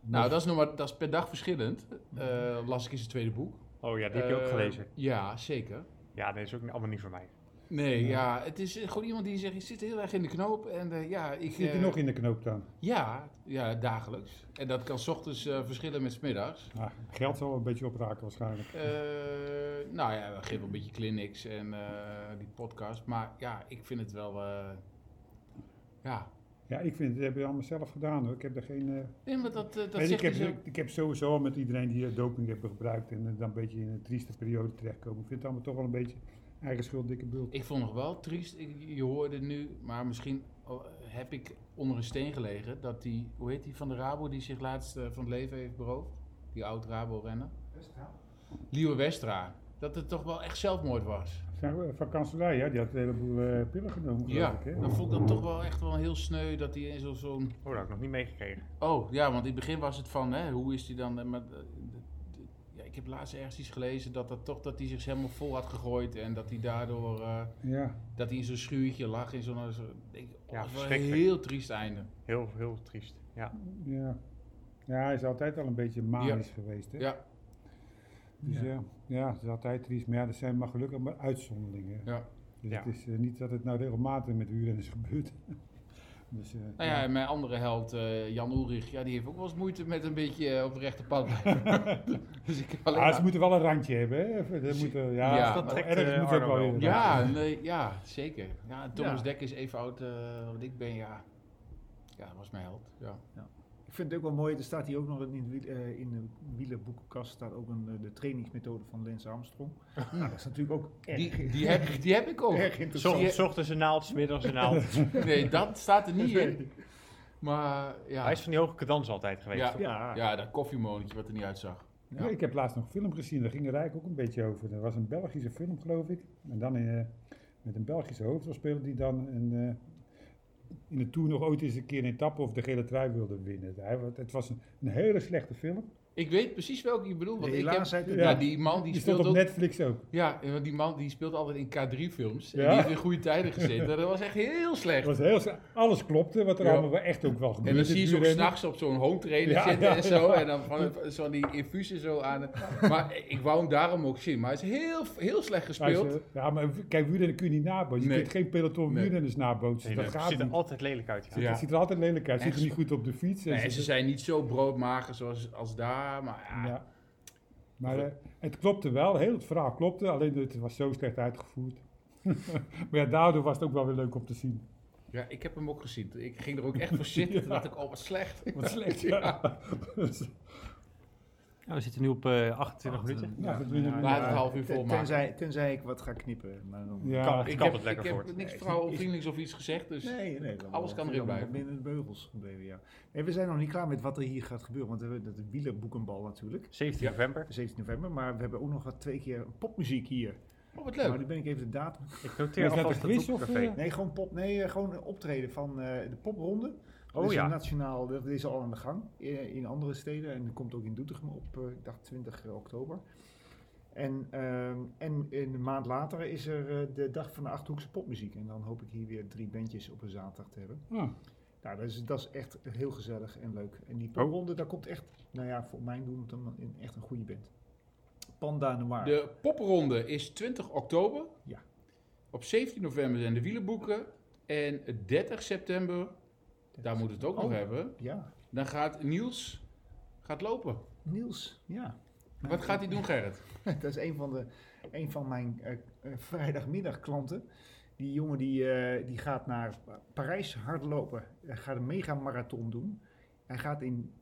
C: Nou, dat is, nog maar, dat is per dag verschillend. Eh, las ik in zijn tweede boek.
E: Oh ja, die heb je ook
C: Eh,
E: gelezen.
C: Ja, zeker.
E: Ja, dat is ook allemaal niet voor mij.
C: Nee, ja, het is eh, gewoon iemand die zegt, je zit heel erg in de knoop. En eh, ja, ik...
D: Zit je
C: eh,
D: nog in de knoop dan?
C: Ja, ja, dagelijks. En dat kan 's ochtends eh, verschillen met 's middags.
D: Ah, geld zal wel een beetje opraken waarschijnlijk.
C: Eh, nou ja, we geven een beetje clinics en eh, die podcast. Maar ja, ik vind het wel... eh, ja.
D: Ja, ik vind het, dat hebben we allemaal zelf gedaan hoor. Ik heb er geen... eh,
C: Nee, maar dat, eh, dat
D: en ik,
C: zegt
D: heb,
C: hij zo.
D: ik heb sowieso al met iedereen die eh, doping hebben gebruikt en eh, dan een beetje in een trieste periode terechtkomen. Ik vind het allemaal toch wel een beetje eigen schuld, dikke bult.
C: Ik vond nog wel triest, ik- je hoorde nu, maar misschien oh, heb ik onder een steen gelegen... dat die, hoe heet die, van de Rabo die zich laatst eh, van het leven heeft beroofd? Die oud-Rabo-renner. Liewe Westra. Dat het toch wel echt zelfmoord was.
D: Zijn we- eh, Van Kanselij, ja, die had een heleboel eh, pillen genomen geloof
C: Ja,
D: ik, hè?
C: dan vond ik dat toch wel echt wel heel sneu dat hij in zo'n... zo'n-
E: Oh, dat heb ik nog niet meegekregen.
C: Oh, ja, want in het begin was het van, hè, hoe is hij dan... eh, Maar, eh, de- de- ja, ik heb laatst ergens iets gelezen dat, dat, toch, dat hij zich helemaal vol had gegooid... en dat hij daardoor... eh,
D: Ja,
C: dat hij in zo'n schuurtje lag, in zo'n... zo'n- ik-
E: Ja,
C: oh, dat is wel een
E: verschrikkelijk.
C: heel triest einde.
E: Heel, heel triest. Ja.
D: ja. Ja, hij is altijd al een beetje manisch geweest, hè?
C: Ja,
D: Dus ja, ja, het is altijd triest. Maar ja, dat zijn maar gelukkig maar uitzonderingen.
C: ja.
D: Dus
E: Ja.
D: het is eh, niet dat het nou regelmatig met huren is gebeurd. dus, eh,
C: Nou ja, en mijn andere held, eh, Jan Ulrich, ja, die heeft ook wel eens moeite met een beetje eh, op de rechte pad blijven. dus ik heb alleen
D: Ah,
C: maar-
D: ze moeten wel een randje hebben, hè? Dat moet, eh, ja,
C: Ja,
D: ja,
C: dat
D: dat
E: trekt,
D: trekt ergens
E: eh,
D: moet ook
E: Arno
D: wel
E: wel.
D: in.
C: Ja, nee, ja, zeker. Ja, en Thomas
B: Ja.
C: Dek is even oud eh, wat ik ben, ja. Ja, dat was mijn held. Ja.
B: Ik vind het ook wel mooi, er staat hier ook nog in, het wiel- eh, in de wielerboekenkast staat ook een, eh, de trainingsmethode van Lance Armstrong.
C: Ah.
B: Nou, dat is natuurlijk ook erg,
C: Die, die, heb, die heb ik ook.
B: erg interessant.
E: Zocht, ochtends een naald, 's middags een naald.
C: Nee, dat staat er niet in. Maar
E: Hij
C: ja,
E: is van die hoge cadans altijd geweest.
C: Ja.
E: toch?
B: Ja,
C: ja dat koffiemolentje wat er niet uitzag.
D: Ja, ik heb laatst nog een film gezien, daar ging Rijk ook een beetje over. Dat was een Belgische film, geloof ik. En dan eh, met een Belgische hoofdrolspeler die dan een, eh, in de Tour nog ooit eens een keer een etappe of de gele trui wilde winnen. Hij, wa- het was een, een hele slechte film.
C: Ik weet precies welke je bedoelt. Want ik heb,
B: Helaas zei het-
C: ja, die man die,
D: Die stond
C: speelt
D: op
C: ook.
D: Netflix ook.
C: Ja, want die man die speelt altijd in K3-films. En
D: Ja.
C: die heeft in goede tijden gezeten. Dat was echt heel
D: Het
C: slecht.
D: was heel, sle- alles klopte, wat er
C: Ja.
D: allemaal wel echt ook wel gebeurde.
C: En dan zie je ze ook
D: wielrennen.
C: s'nachts op zo'n home trainer
D: Ja,
C: zitten
D: ja,
C: en zo.
D: ja.
C: En dan van, van die infusie zo aan. de- Maar ik wou hem daarom ook zien. Maar hij is heel, heel slecht
D: Hij
C: gespeeld.
D: zei, Ja, maar w- kijk, wielrennen kun je niet nabootsen.
C: Nee.
D: Je kunt geen peloton
C: Nee.
D: wielrenners nabootsen.
E: Nee,
D: dat
E: dat
D: gaat
E: ziet er
D: niet.
E: altijd lelijk uit. Ja.
C: Ja.
D: Het ziet er altijd lelijk uit. Het ziet er
C: Echt.
D: niet goed op de fiets. En
C: Nee,
D: ze-
C: en ze zijn niet zo broodmager zoals als daar. Maar
B: Ah.
C: ja,
D: Ja. Maar eh, het klopte wel, heel het verhaal klopte, alleen het was zo slecht uitgevoerd. maar ja, daardoor was het ook wel weer leuk om te zien.
C: ja, ik heb hem ook gezien. Ik ging er ook echt voor zitten. Toen dacht ik, oh wat slecht.
D: Wat slecht, Dus, ja.
E: Ja, we zitten nu op eh, 28 minuten.
D: Ja, dat doen we
C: Laat
D: Ja.
C: het half uur vol maken.
B: Tenzij, tenzij ik wat ga knippen. Maar dan,
D: ja.
E: Kan-
C: Ik
E: kabbelt
C: heb, ik
E: lekker
C: heb
E: voort.
C: niks vrouwenvriendelijks of iets gezegd. Dus
B: Nee, nee, dan-
C: Alles kan
B: dan-
C: erin
B: dan
C: blijven.
B: Binnen de beugels gebleven, ja. Nee, we zijn nog niet klaar met wat er hier gaat gebeuren, want we hebben dat wielerboekenbal natuurlijk,
E: 17
C: Ja.
E: november.
B: 17 november, maar we hebben ook nog wat twee keer popmuziek hier.
C: oh, wat
B: Maar
C: leuk.
B: nu ben ik even de datum.
E: Ik
D: Maar
E: noteer
D: is dat
E: alvast
D: een
E: het
D: quiz of,
E: boekcafé.
D: eh?
B: Nee, gewoon pop. Nee, eh, gewoon een optreden van eh, de popronde. Dat
E: Oh
B: is
E: ja.
B: een nationaal, dat is al aan de gang eh, in andere steden en dat komt ook in Doetinchem op, eh, ik dacht 20 oktober. En, ehm, en een maand later is er eh, de dag van de Achthoekse popmuziek. En dan hoop ik hier weer drie bandjes op een zaterdag te hebben.
D: Ah,
B: Nou, dat is, dat is echt heel gezellig en leuk. En
E: Oh.
B: die popronde, daar komt echt, nou ja, voor mijn doen het een, een- echt een goede band. Panda Noir.
C: De popronde is 20 oktober.
B: Ja.
C: Op 17 november zijn de wielenboeken. En 30 september, daar moet het ook nog
B: Oh.
C: hebben.
B: Ja,
C: Dan gaat Niels gaat lopen.
B: Niels. Ja.
C: Wat gaat hij doen, Gerrit?
B: dat is een van, de, een van mijn eh, eh, vrijdagmiddagklanten. Die jongen die, eh, die gaat naar Parijs hardlopen. Hij gaat een megamarathon doen. Hij gaat in,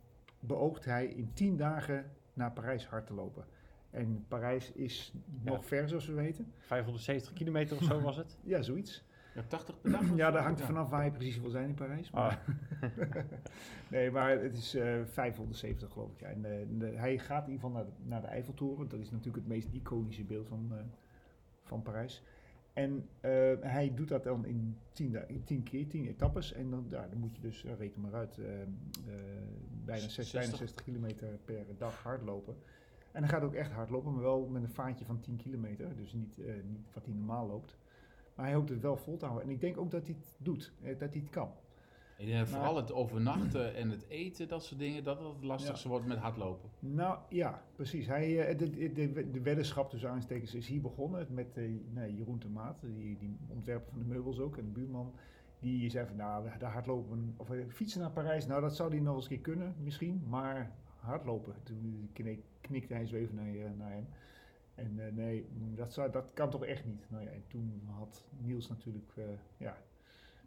B: beoogt hij in tien dagen naar Parijs hardlopen. En Parijs is nog ver, zoals we weten.
E: 570 kilometer of zo was het.
B: Ja, zoiets.
C: Ja, 80 per dag?
B: Ja, daar hangt er vanaf waar je precies wil zijn in Parijs. Maar nee, maar het is eh, 570 geloof ik. Ja. En, eh, de- hij gaat in ieder geval naar de, naar de Eiffeltoren. Dat is natuurlijk het meest iconische beeld van, eh, van Parijs. En eh, hij doet dat dan in 10 da- in 10 keer, 10 etappes. En dan, ja, dan moet je dus, eh, reken maar uit, eh, eh, bijna, 6, bijna
C: 60.
B: 60 kilometer per dag hardlopen. En hij gaat ook echt hardlopen, maar wel met een vaartje van 10 kilometer. Dus niet, eh, niet wat hij normaal loopt. Maar hij hoopt het wel vol te houden. En ik denk ook dat hij het doet, eh, dat hij het kan.
C: Ik denk dat vooral het overnachten en het eten, dat soort dingen, dat dat het lastigste wordt met hardlopen.
B: Nou ja, precies. Hij, eh, de, de, de, de weddenschap tussen aanstekens is hier begonnen met eh, nou, Jeroen de Maat, die, die ontwerper van de meubels ook en de buurman. Die zei van nou, daar hardlopen of eh, fietsen naar Parijs, nou dat zou die nog eens een keer kunnen misschien, maar hardlopen. Toen knik- knikte hij zo even naar, eh, naar hem. En eh, nee, mm, dat, zou, dat kan toch echt niet. Nou ja, en toen had Niels natuurlijk, eh, ja,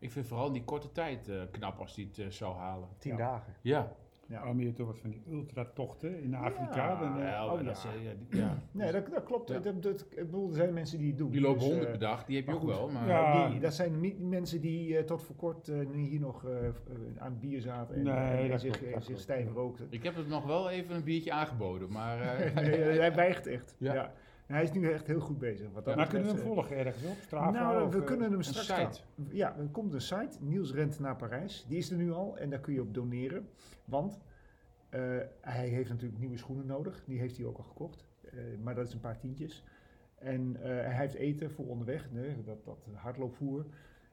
C: Ik vind vooral in die korte tijd eh, knap als hij het eh, zou halen.
B: Tien
E: dagen.
C: Ja,
B: Ja.
D: Al meer toch wat van die ultratochten in Afrika.
B: Ja,
D: dan, eh,
C: ja,
B: oh
C: dat
B: ja.
C: is, eh, ja, die- ja.
B: nee, dat, dat klopt.
C: Ja.
B: Dat, dat, ik bedoel, er zijn mensen die het doen.
C: Die lopen
B: Dus, eh,
C: 100 per dag, die heb je
B: maar
C: ook
B: goed.
C: wel. Maar
D: Ja.
B: Die, dat zijn niet mensen die eh, tot voor kort eh, nu hier nog eh, eh, aan bier zaten en, eh,
D: Nee,
B: en
D: dat
B: zich,
D: klopt, dat
B: en zich
D: klopt.
B: stijf rookten.
C: ik heb het nog wel even een biertje aangeboden. Maar eh,
B: Nee, hij weigt echt. Ja.
C: Ja.
B: En hij is nu echt heel goed bezig. Wat dat
D: maar
B: betreft,
D: kunnen we hem
B: eh,
D: volgen ergens op? Strava
B: Nou,
D: of,
B: we
D: eh,
B: kunnen hem
C: een
B: straks...
C: site.
B: Ja, er komt een site, Niels Rent naar Parijs. Die is er nu al en daar kun je op doneren. Want eh, hij heeft natuurlijk nieuwe schoenen nodig. Die heeft hij ook al gekocht. Eh, maar dat is een paar tientjes. En eh, hij heeft eten voor onderweg, nee, dat, dat hardloopvoer.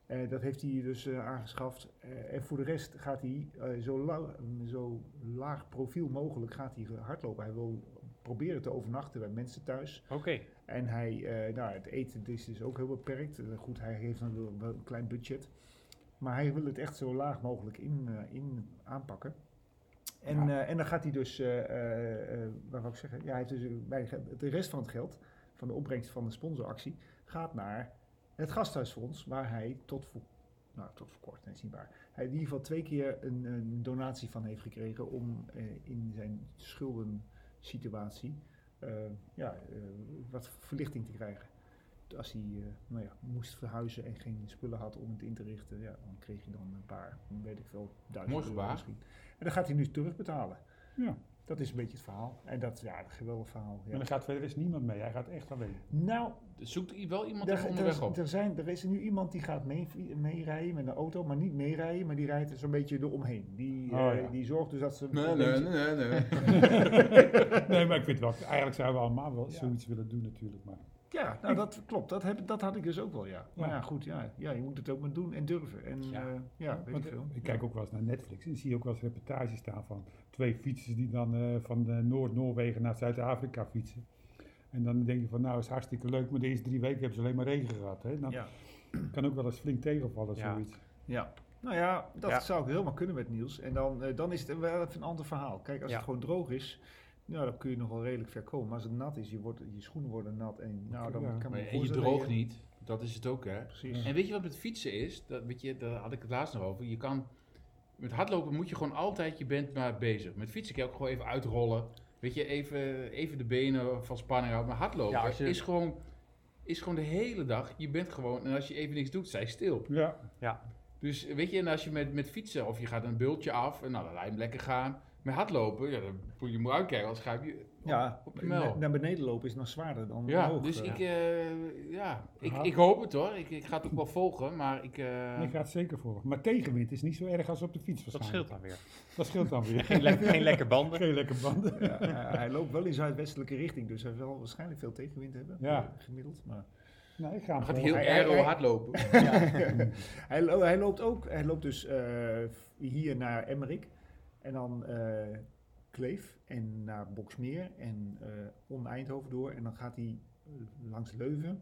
B: Eh, dat heeft hij dus eh, aangeschaft. Eh, en voor de rest gaat hij eh, zo, lau- zo laag profiel mogelijk gaat hij hardlopen. Hij wil proberen te overnachten bij mensen thuis.
E: Oké,
B: En hij, eh, nou, het eten is dus ook heel beperkt. Eh, Goed, hij heeft dan wel wel een klein budget. Maar hij wil het echt zo laag mogelijk in, eh, in aanpakken. En, eh, en dan gaat hij dus, eh, eh, eh, wat wou ik zeggen? Ja, hij heeft dus eh, bij de rest van het geld, van de opbrengst van de sponsoractie, gaat naar het gasthuisfonds, waar hij tot voor, nou, tot voor kort, nee, is niet waar. Hij in ieder geval twee keer een, een donatie van heeft gekregen om eh, in zijn schuldensituatie eh, ja, eh, wat verlichting te krijgen. Als hij eh, nou ja, moest verhuizen en geen spullen had om het in te richten, ja, dan kreeg hij dan een paar, weet ik veel, duizend
C: Mooi
B: euro
C: gebaar.
B: misschien. En dan gaat hij nu terugbetalen.
D: Ja.
B: Dat is een beetje het verhaal. En dat, ja, een geweldig verhaal.
D: En
B: Ja.
D: dan gaat verder is niemand mee. Hij gaat echt alleen.
B: Nou,
C: zoekt i- wel iemand
B: er,
C: even
B: er,
C: onderweg
B: is-
C: op.
B: er, zijn, er is nu iemand die gaat mee- meerijden met een auto, maar niet meerijden, maar die rijdt er zo'n beetje eromheen. Die,
D: Oh,
B: eh,
D: ja.
B: die zorgt dus dat ze.
C: Nee, nee, nee, nee.
D: nee, maar ik weet wel. Eigenlijk zouden we allemaal wel
B: Ja.
D: zoiets willen doen natuurlijk. Maar
B: Ja, nou dat klopt. Dat, heb, dat had ik dus ook wel, ja. Maar
D: Ja.
B: ja, goed, ja, ja, je moet het ook maar doen en durven. En ja,
C: Ja.
B: ja weet
D: Want,
B: ik veel.
D: eh, ik kijk ook wel eens naar Netflix en zie ook wel eens reportages staan van twee fietsers die dan eh, van eh, Noord-Noorwegen naar Zuid-Afrika fietsen. En dan denk je van nou is hartstikke leuk, maar de eerste drie weken hebben ze alleen maar regen gehad. Hè? Dan
B: Ja.
D: kan ook wel eens flink tegenvallen
E: Ja.
D: zoiets.
B: Ja. Nou ja, dat
E: Ja.
B: zou ik helemaal kunnen met Niels. En dan, eh, dan is het wel even een ander verhaal. Kijk, als
E: Ja.
B: het gewoon droog is, nou, dan kun je nog wel redelijk ver komen. Maar als het nat is, je, wordt, je schoenen worden nat en nou, dan
D: Ja.
B: kan
C: Maar,
B: me
C: en je
B: voorstellen dat
C: droogt niet, dat is het ook hè.
B: Precies.
C: En weet je wat met fietsen is? Dat, weet je, daar had ik het laatst nog over. Je kan, met hardlopen moet je gewoon altijd, je bent maar bezig. Met fietsen kan je ook gewoon even uitrollen. Weet je, even, even de benen van spanning houden. Maar hardlopen
E: Ja, als je-
C: is, gewoon, is gewoon de hele dag, je bent gewoon, en als je even niks doet, zij stil.
D: Ja,
C: Dus weet je, en als je met, met fietsen of je gaat een bultje af, en nou, dan laat je hem lekker gaan. Met hardlopen, ja, dan moet je moet uitkijken, anders ga je...
B: Ja,
C: op je muil.
B: na- naar beneden lopen is nog zwaarder dan
C: Ja,
B: omhoog.
C: dus
B: eh.
C: ik, eh, ja, ik,
D: Ja.
C: ik hoop het hoor. Ik, ik ga het ook wel volgen, maar ik... eh,
D: ik ga het zeker volgen. Maar tegenwind is niet zo erg als op de fiets
E: dat
D: waarschijnlijk.
E: scheelt dan weer.
D: Dat scheelt dan weer.
E: Geen, le- geen lekker banden.
D: Geen lekker banden.
B: Ja, hij- hij loopt wel in zuidwestelijke richting, dus hij zal waarschijnlijk veel tegenwind hebben,
D: Ja.
B: eh, gemiddeld. Maar
D: Nou, ik ga hem
C: Dan gaat hij
D: gewoon-
C: heel
B: hij-
C: aero
B: hij-
C: hardlopen.
B: hij, lo- hij loopt ook, hij loopt dus eh, hier naar Emmerik en dan eh, Kleef en naar Boksmeer en eh om Eindhoven door en dan gaat hij eh, langs Leuven,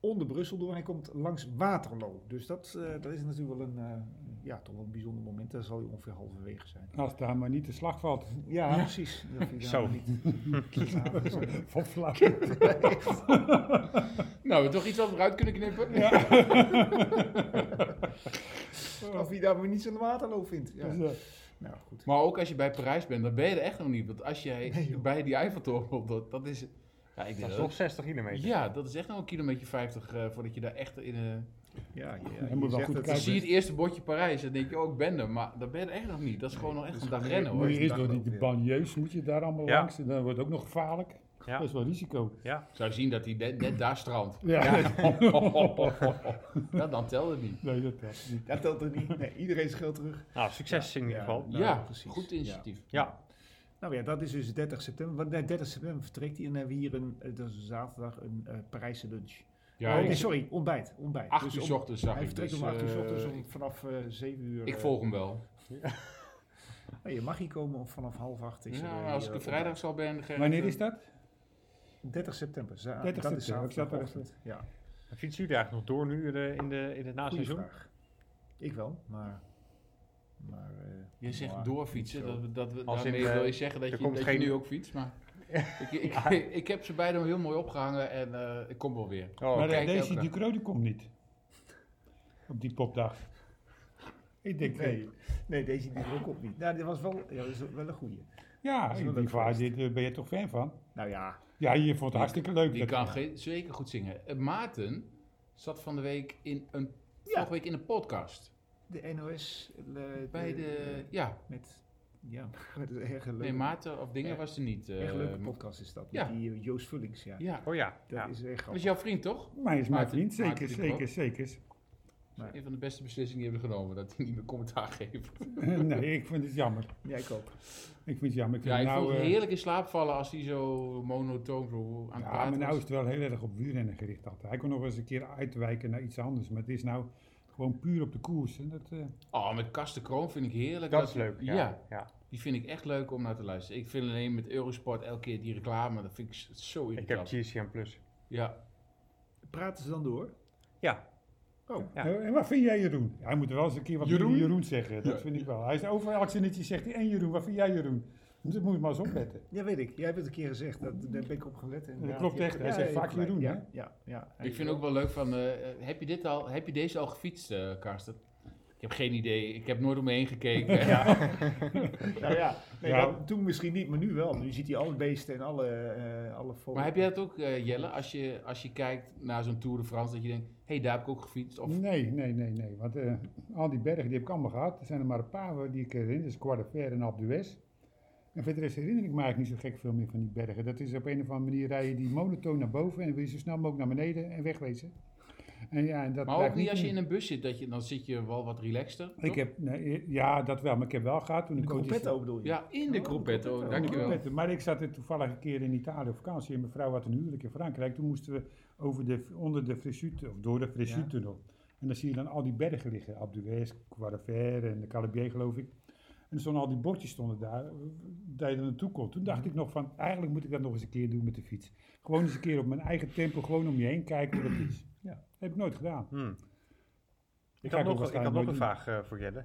B: onder Brussel door en hij komt langs Waterloo. Dus dat, eh, dat is natuurlijk wel een, eh, ja, toch wel een bijzonder moment, daar zal hij ongeveer halverwege zijn.
D: Als daar maar niet de slag valt.
B: Ja, precies. Dat vind ik
E: Zo.
B: nou niet- niet-
D: Van vlak.
C: nou, toch iets wat we eruit kunnen knippen?
B: Of hij daar maar niets aan de Waterloo vindt. Ja.
D: Dus, eh,
B: Nou goed.
C: Maar ook als je bij Parijs bent, dan ben je er echt nog niet. Want als jij
B: Nee, joh.
C: bij die Eiffeltoren op, dat, dat is... Ja, ik
E: Dat
C: denk
E: is
C: dat-
E: nog 60 kilometer.
C: ja, dat is echt nog een kilometer 50 eh, voordat je daar echt in... eh
B: Ja, dus- ja,
D: Hij
B: je
D: moet wel
B: zegt dat-
D: goed
C: dan
D: kijken.
C: zie je het eerste bordje Parijs en denk je, oh, ik ben er. Maar daar ben je er echt nog niet. Dat is gewoon nog echt
B: dat
C: een
B: is
C: dag
B: gewoon
C: rennen,
B: heel
C: hoor.
D: moet je
B: dat
D: eerst
B: dacht
D: door
B: ik
D: die
B: ook, ja.
D: banlieues, moet je daar allemaal
E: Ja.
D: langs. En dan wordt het ook nog gevaarlijk.
E: Ja.
D: Dat is wel risico.
E: Ja.
C: Ik zou zien dat hij net, net daar strandt.
D: Ja.
C: Ja, dan telt het niet.
D: nee, dat telt niet.
B: Dat telt er niet. Nee, iedereen scheelt terug.
E: Nou, succes in ieder geval.
B: Ja,
C: ja,
B: precies.
C: goed initiatief.
E: Ja.
B: Nou ja, dat is dus 30 september. Want nee, 30 september vertrekt hij en dan hebben we hier een, eh, dat is een zaterdag, een eh, Parijse lunch.
C: Ja,
B: oh, nee,
C: ik-
B: sorry, ontbijt. ontbijt.
C: acht
B: Dus
C: uur
B: om-
C: 's ochtends zag
B: Hij
C: ik.
B: vertrekt
C: dus,
B: om 8 uur 's
C: eh,
B: ochtends om
C: ik-
B: vanaf eh 7 uur.
C: Ik
B: eh,
C: volg hem wel.
B: nou, je mag hier komen of vanaf half 8 is er,
C: Ja,
B: eh,
C: als ik
B: hier
C: er vrijdag zal ben, Gerrit,
D: Wanneer
C: eh,
D: is dat?
B: 30 september. za-
D: 30
B: dat is
D: september, ik zat er echt
B: zaterdagochtend. Ja,
E: Fietsen jullie eigenlijk nog door nu eh, in, de, in het
B: goeie
E: naseizoen?
B: vraag. Ik wel, maar... maar eh,
C: Je
B: maar
C: zegt
B: niet
C: doorfietsen,
B: zo.
C: dat, we- dat, we-
E: Als in,
C: daarmee
E: eh,
C: wil je zeggen dat,
E: er
C: je,
E: komt
C: dat
E: geen-
C: je nu ook fietst, maar ik, ik, ik, heb ze beide heel mooi opgehangen en eh, ik kom wel weer.
E: Oh,
D: maar
C: kijk,
D: deze
C: elke dag.
D: Ducro die komt niet. Op die popdag. Ik denk,
B: Nee.
D: nee.
B: Nee, deze die er ook op niet. Nou, dit was wel, ja, dat is wel een goeie.
D: Ja,
B: Dat is
D: ik
B: wel
D: denk,
B: leuk
D: waar,
B: geweest.
D: dit eh, ben je toch fan van?
B: Nou ja,
D: Ja, je vond het hartstikke leuk.
C: Die
D: dat-
C: kan ge- zeker goed zingen. Eh, Maarten zat van de week in een,
B: Ja.
C: vorige week in een podcast.
B: de NOS... eh,
C: Bij de, ja,
B: Met, ja, met een erg leuke,
C: nee, Maarten of Dingen
B: Ja.
C: was er niet. eh,
B: erg leuke podcast is dat. Met
C: ja.
B: die eh, Joost Vullings, ja.
C: Ja, Dus
E: Oh ja.
B: Dat
E: ja.
B: is echt
C: dat is
B: grappig.
C: jouw vriend toch?
D: Maar is mijn
C: Maarten-
D: vriend, zeker,
C: Maarten die
D: zeker, zeker.
B: Ja.
C: Een van de beste beslissingen die we hebben genomen, dat hij niet meer commentaar geeft.
D: nee, ik vind het jammer.
B: Ja, ik ook.
D: Ik vind het jammer. Ik vind
C: Ja, ik
D: nou,
C: vond het
D: eh,
C: heerlijk in slaap vallen als hij zo monotoon zo aan het
D: Ja,
C: praten
D: maar nou is
C: was.
D: het wel heel erg op wielrennen gericht altijd. Hij kon nog eens een keer uitwijken naar iets anders. Maar het is nou gewoon puur op de koers. En dat, eh,
C: Oh, met Kasten Kroon vind ik heerlijk.
E: Dat is leuk. Ja.
C: ja,
E: ja.
C: Die vind ik echt leuk om naar te luisteren. Ik vind alleen met Eurosport elke keer die reclame, dat vind ik s- zo
E: Ik heb
C: irritant.
E: GCM Plus.
C: ja.
B: Praten ze dan door?
E: Ja.
B: Oh,
E: Ja.
D: eh, En wat vind jij Jeroen? Hij moet wel eens een keer wat
C: Jeroen?
D: Jeroen, Jeroen zeggen. Dat
C: Ja.
D: vind ik wel. Hij is over elk zinnetje zegt hij, en Jeroen, wat vind jij Jeroen? Dus dat moet je maar eens opletten.
B: ja, weet ik. Jij hebt het een keer gezegd. Dat, daar ben ik op gelet. En
D: Dat klopt echt. Hij zegt vaak Jeroen,
B: Ja,
D: hè?
B: ja, ja. Nou
C: Ik vind ook wel leuk van, eh, eh, heb, je dit al, heb je deze al gefietst, eh, Karsten? Ik heb geen idee. Ik heb nooit om me heen gekeken.
B: Nou ja, nee,
D: Ja.
B: nou, toen misschien niet, maar nu wel. Nu ziet hij alle beesten en alle, eh alle vogels.
C: Maar heb jij dat ook, eh, Jelle, als je, als je kijkt naar zo'n Tour de France, dat je denkt, hé, hey, daar heb ik ook gefietst? Of,
D: Nee, nee, nee, nee. Want eh, al die bergen die heb ik allemaal gehad. Er zijn er maar een paar waar die ik herinner. Dus Quadrefer en Alpe d'Huez. En verder is herinner ik me eigenlijk niet zo gek veel meer van die bergen. Dat is op een of andere manier rijden die monotoon naar boven en dan wil je zo snel mogelijk naar beneden en wegwezen. En ja, en dat
C: maar ook
D: blijft
C: niet als je
D: in-
C: in een bus zit, dat je, dan zit je wel wat relaxster.
D: Ik
C: toch?
D: heb, nee, ja, dat wel, maar ik heb wel gehad toen
B: De
D: ik ooit eens-
B: croquetto bedoel je?
C: Ja, in de
B: Oh,
C: croppetto,
B: croquetto.
D: in de
C: dankjewel.
D: kroketten. Maar ik zat er toevallig een keer in Italië op vakantie en mevrouw had een huwelijk in Frankrijk. Toen moesten we over de, onder de Frisuut, of door de Frisuut-tunnel. En dan zie je dan al die bergen liggen. Abdues, Quadrefer en de Calabier geloof ik. En er stonden al die bordjes stonden daar, eh, dat je er naartoe kon. Toen dacht ik nog van, eigenlijk moet ik dat nog eens een keer doen met de fiets. Gewoon eens een keer op mijn eigen tempo, gewoon om je heen kijken hoe dat is. Ja, dat heb ik nooit gedaan.
E: Hmm. Ik
D: ga
E: had nog, ik
D: ook
E: had
D: waarschijnlijk
E: nog
D: nooit
E: een
D: doen.
E: vraag eh, voor Jelle.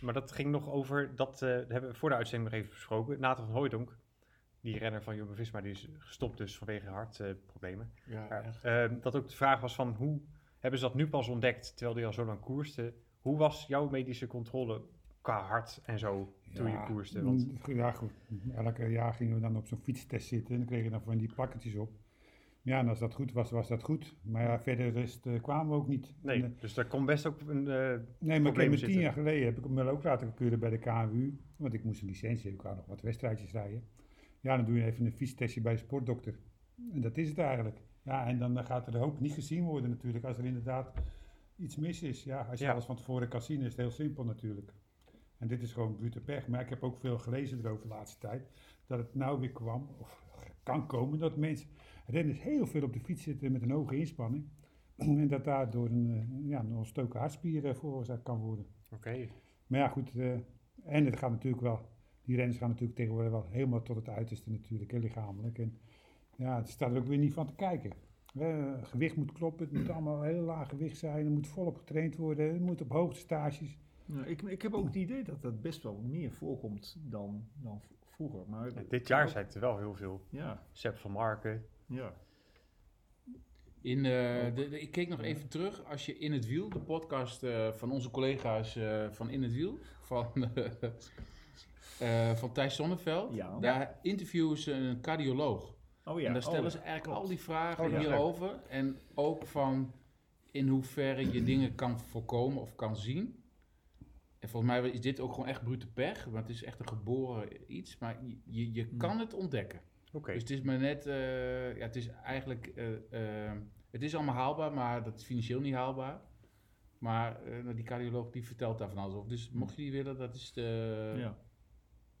E: Maar dat ging nog over, dat eh, hebben we voor de uitzending nog even besproken. Nathan van Hooydonk, die renner van Jumbo Visma, die is gestopt dus vanwege hartproblemen.
C: Ja,
E: Maar,
C: echt.
E: eh, dat ook de vraag was van hoe hebben ze dat nu pas ontdekt, terwijl die al zo lang koerste. Hoe was jouw medische controle qua hart en zo toen je koerste? Want
D: mm, Ja, goed. Elke jaar gingen we dan op zo'n fietstest zitten en dan kregen we dan van die pakketjes op. Ja, en als dat goed was, was dat goed. Maar ja, verder de rest eh, kwamen we ook niet.
E: nee,
D: En, eh,
E: dus daar kon best ook een... eh,
D: nee, maar ik heb
E: problemen
D: me
E: zitten.
D: tien jaar geleden heb ik me ook laten keuren bij de KWU. Want ik moest een licentie hebben, ik wou nog wat wedstrijdjes rijden. Ja, dan doe je even een fietstestje bij de sportdokter. En dat is het eigenlijk. Ja, en dan eh, gaat er de hoop niet gezien worden natuurlijk als er inderdaad iets mis is. Ja, als je
E: Ja.
D: alles van tevoren kan zien is het heel simpel natuurlijk. En dit is gewoon brute pech. Maar ik heb ook veel gelezen erover de laatste tijd. Dat het nou weer kwam, of kan komen, dat mensen... renners heel veel op de fiets zitten met een hoge inspanning. en dat daardoor een, eh, ja, een ontstoken hartspier eh, veroorzaakt kan worden.
E: Oké.
D: Maar ja, goed. eh, en het gaat natuurlijk wel. Die renners gaan natuurlijk tegenwoordig wel helemaal tot het uiterste natuurlijk, hè, lichamelijk. En ja, het staat er ook weer niet van te kijken. Eh, gewicht moet kloppen, het moet allemaal heel laag gewicht zijn, er moet volop getraind worden, het moet op hoogte stages.
B: Nou, ik, ik heb ook het idee dat dat best wel meer voorkomt dan, dan v- vroeger. Maar
E: Ja, dit jaar zijn het er wel heel veel.
B: Ja,
E: Sepp van Marken.
B: ja.
C: In,
B: Oh.
C: eh, de, de- ik keek nog even terug. Als je In het Wiel, de podcast eh, van onze collega's eh, van In het Wiel, van, eh, eh, van Thijs Sonneveld,
B: Ja.
C: daar interviewen ze een cardioloog.
B: Oh ja.
C: en daar stellen
B: oh,
C: ze eigenlijk
B: klopt.
C: al die vragen
B: Oh, ja.
C: hierover. En ook van in hoeverre je dingen kan voorkomen of kan zien. En volgens mij is dit ook gewoon echt brute pech, want het is echt een geboren iets. Maar je, je
B: Hmm.
C: kan het ontdekken.
E: Oké.
C: Dus het is maar net, eh, ja, het is eigenlijk, eh, eh, het is allemaal haalbaar, maar dat is financieel niet haalbaar. Maar eh, nou, die cardioloog die vertelt daar van alles over. Dus mocht je die willen, dat is de,
B: Ja,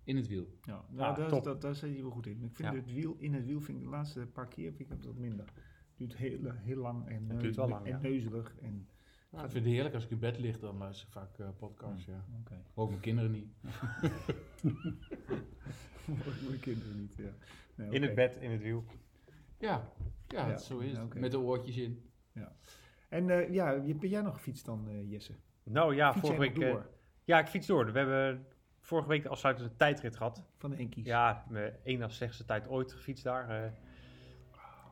C: in het wiel.
B: ja. Nou,
E: Ah,
B: daar,
E: top.
B: dat, daar zit je wel goed in. Ik vind
E: Ja.
B: het wiel, in het wiel vind ik de laatste paar keer vind ik dat wat minder. duurt heel, eh, heel lang en,
E: duurt
B: neu-
E: wel lang,
B: en
E: ja.
B: neuzelig. En,
C: Nou, ik vind het heerlijk als ik in bed lig, dan luister ik vaak eh, podcasts. Ja.
B: Oké.
C: Ook mijn kinderen niet.
B: Voor mijn kinderen niet, ja. Nee,
E: In
B: oké.
E: het bed, in het wiel.
C: Ja, ja,
B: Ja,
C: zo is het.
B: oké.
C: Met de oortjes in.
B: En eh, ja, je- ben jij nog gefietst dan, eh, Jesse?
E: Nou ja,
B: Fiets
E: vorige
B: jij
E: week.
B: nog
E: eh,
B: door
E: ja, ik fiets door. We hebben vorige week de afsluitende tijdrit gehad.
B: van de Enkies?
E: Ja, mijn één na slechtste tijd ooit gefietst daar. eh.
C: Wil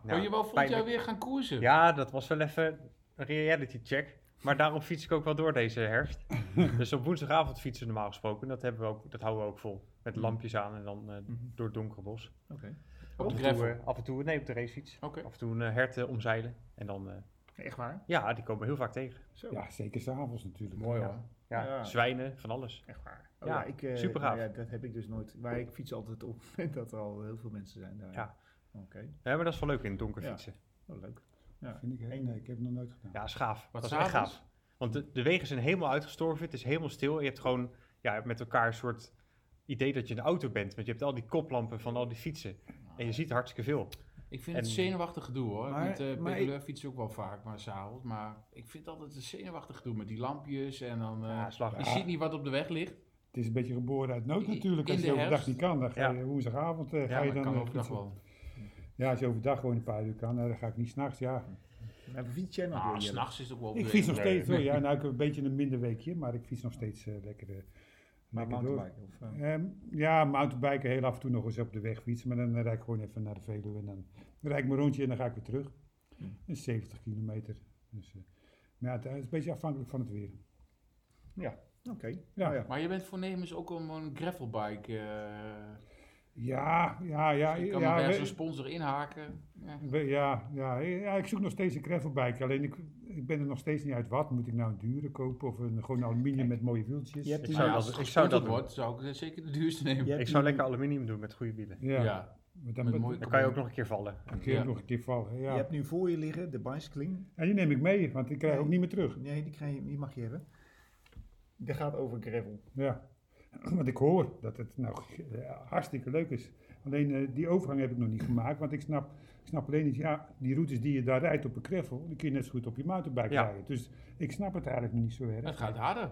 E: Nou,
C: Oh, je wel volgend
E: pijnlijk.
C: jaar weer gaan koersen?
E: Ja, dat was wel even een reality check. Maar daarom fiets ik ook wel door deze herfst. dus op woensdagavond fietsen we normaal gesproken. Dat, hebben we ook, dat houden we ook vol. Met lampjes aan en dan eh,
B: Mhm.
E: door het donkere bos.
B: Oké.
C: Mhm. Op de
E: af, en toe,
C: gravel.
E: eh, af en toe, nee, op de racefiets.
C: Oké.
E: Af en toe een eh, herten omzeilen. En dan, eh,
B: Echt waar?
E: ja, die komen we heel vaak tegen.
B: Zo.
D: Ja, zeker s'avonds natuurlijk.
C: Mooi
E: Ja.
C: hoor.
E: Ja,
B: Ja.
E: zwijnen, van alles.
B: Echt waar.
E: Ja,
B: ik, eh,
E: supergaaf.
B: nou ja, dat heb ik dus nooit. Maar ik fiets altijd op het moment dat er al heel veel mensen zijn daar.
E: Ja.
B: Oké,
E: Ja, maar dat is wel leuk in het donker
B: Ja.
E: fietsen.
B: oh, leuk.
D: Vind ik, hè? nee, ik heb het nog nooit gedaan.
E: Ja, is gaaf.
C: Wat
E: dat is echt
C: s'avonds?
E: gaaf. Want de, de wegen zijn helemaal uitgestorven. Het is helemaal stil. Je hebt gewoon ja, met elkaar een soort idee dat je een auto bent. Want je hebt al die koplampen van al die fietsen. En je ziet hartstikke veel.
C: Ik vind
E: En-
C: het zenuwachtig gedoe hoor.
B: Maar-
C: met uh,
B: maar ik-
C: pedaleur fiets ik ook wel vaak, maar s'avonds. Maar ik vind altijd een zenuwachtig gedoe met die lampjes en dan... eh,
E: Ja, slag.
C: Je ziet niet wat op de weg ligt.
D: Het is een beetje geboren uit nood
C: In-
D: natuurlijk. Als
C: in
D: je
C: de
D: overdag
C: herfst.
D: niet kan, dan ga je
E: Ja.
D: woensdagavond eh,
C: Ja,
D: ga je
C: maar
D: dan
C: ik kan
D: eh,
C: overdag
D: fietsen.
C: wel.
D: Ja, als je overdag gewoon een paar uur kan, nou, dan ga ik niet s'nachts. Ja.
B: En fiets jij nog
C: Ah,
B: door, Jelle?
C: s'nachts is het ook wel
D: Ik
C: weer-
D: fiets nog
E: nee.
D: steeds hoor. Ja, nou ik heb een beetje een minder weekje, maar ik fiets nog steeds eh, lekker, eh,
B: Maar
D: lekker door.
B: mountainbiken of... eh,
D: Ehm, ja, mountainbiken heel af en toe nog eens op de weg fietsen. Maar dan eh, rijd ik gewoon even naar de Veluwe en dan rijd ik mijn rondje en dan ga ik weer terug.
B: Hm.
D: Dat is 70 kilometer. Dus, eh, maar ja, het is een beetje afhankelijk van het weer.
B: Oké.
D: Ja.
B: Oh, ja.
C: Maar je bent voornemens ook om een gravelbike. eh
D: Ja, ja, ja.
C: je kan
D: ja,
C: nog ergens
D: we-
C: een sponsor inhaken. Ja. Nou
D: We- Ja, ja, ja, ik zoek nog steeds een gravelbike. Alleen ik, ik ben er nog steeds niet uit wat. Moet ik nou een dure kopen of een, gewoon aluminium met mooie wieltjes?
B: Je hebt
E: Ik
B: die-
E: zou
C: Maar
E: dat-
C: als het
E: ik zou dat
C: gesponsord wordt, zou ik eh, zeker de duurste nemen.
B: je hebt
E: Ik zou
B: die-
E: lekker aluminium doen met goede wielen.
D: ja,
C: Ja,
D: maar dan,
C: met
D: moet-
C: mooie
E: Dan kan je ook nog een keer vallen.
D: dan kun je
C: Ja.
D: nog een keer vallen.
B: Je
D: Ja.
B: hebt nu voor je liggen de bicycling.
D: En die neem ik mee, want ik krijg ook niet meer terug.
B: Nee, die, krijg je, die mag je hebben. Die gaat over gravel.
D: Ja. Want ik hoor dat het nou eh, hartstikke leuk is. Alleen eh, die overgang heb ik nog niet gemaakt. Want ik snap, ik snap alleen niet, ja, die routes die je daar rijdt op een gravel, die kun je net zo goed op je mountainbike
E: Ja.
D: rijden. Dus ik snap het eigenlijk niet zo
C: Het
D: erg.
C: gaat harder.